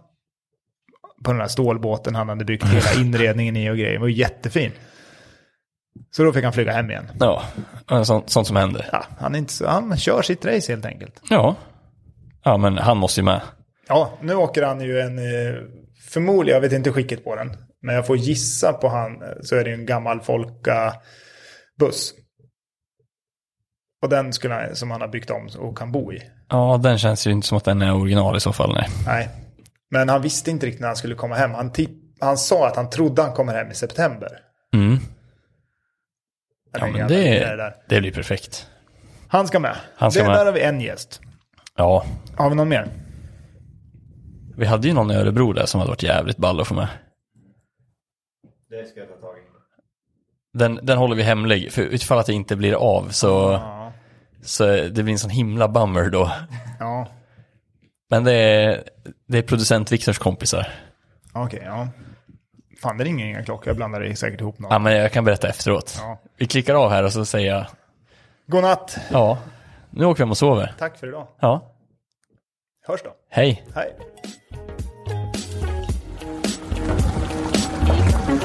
[SPEAKER 1] på den här stålbåten han hade byggt
[SPEAKER 2] [laughs]
[SPEAKER 1] hela inredningen i och grejer. Den var ju jättefin. Så då fick han flyga hem igen.
[SPEAKER 2] Ja, eh, sånt, sånt som händer.
[SPEAKER 1] Ja, han, är inte så, han kör sitt race helt enkelt.
[SPEAKER 2] Ja. Ja, men han måste ju med.
[SPEAKER 1] Ja, nu åker han ju en, eh, förmodligen, jag vet inte skicket på den, men jag får gissa på han, eh, så är det ju en gammal Folka-buss. Och den skulle han, som han har byggt om och kan bo i.
[SPEAKER 2] Ja, den känns ju inte som att den är original i så fall, nej.
[SPEAKER 1] Nej. Men han visste inte riktigt när han skulle komma hem. Han, tipp, han sa att han trodde han kommer hem i september.
[SPEAKER 2] Mm.
[SPEAKER 1] Eller
[SPEAKER 2] Ja, men
[SPEAKER 1] jävla
[SPEAKER 2] det,
[SPEAKER 1] grejer där.
[SPEAKER 2] det blir perfekt.
[SPEAKER 1] Han ska med.
[SPEAKER 2] Han ska
[SPEAKER 1] det,
[SPEAKER 2] med.
[SPEAKER 1] Där har vi en gäst.
[SPEAKER 2] Ja,
[SPEAKER 1] Har vi någon mer?
[SPEAKER 2] vi hade ju någon i Örebro där som hade varit jävligt ball att få med.
[SPEAKER 3] Det ska jag ta tag i.
[SPEAKER 2] Den, den håller vi hemlig, för utifall att det inte blir av så,
[SPEAKER 1] Ja.
[SPEAKER 2] så det blir en sån himla bummer då.
[SPEAKER 1] Ja,
[SPEAKER 2] Men det är, det är producent Viktors kompisar.
[SPEAKER 1] okej. ja. Fan, det ringer inga klockor. Jag blandar säkert ihop något.
[SPEAKER 2] Ja, men jag kan berätta efteråt.
[SPEAKER 1] Ja.
[SPEAKER 2] Vi klickar av här och så säger jag,
[SPEAKER 1] Godnatt.
[SPEAKER 2] ja, nu åker vi hem och sover.
[SPEAKER 1] Tack för idag.
[SPEAKER 2] Ja,
[SPEAKER 1] Hörs då.
[SPEAKER 2] hej.
[SPEAKER 1] Hej.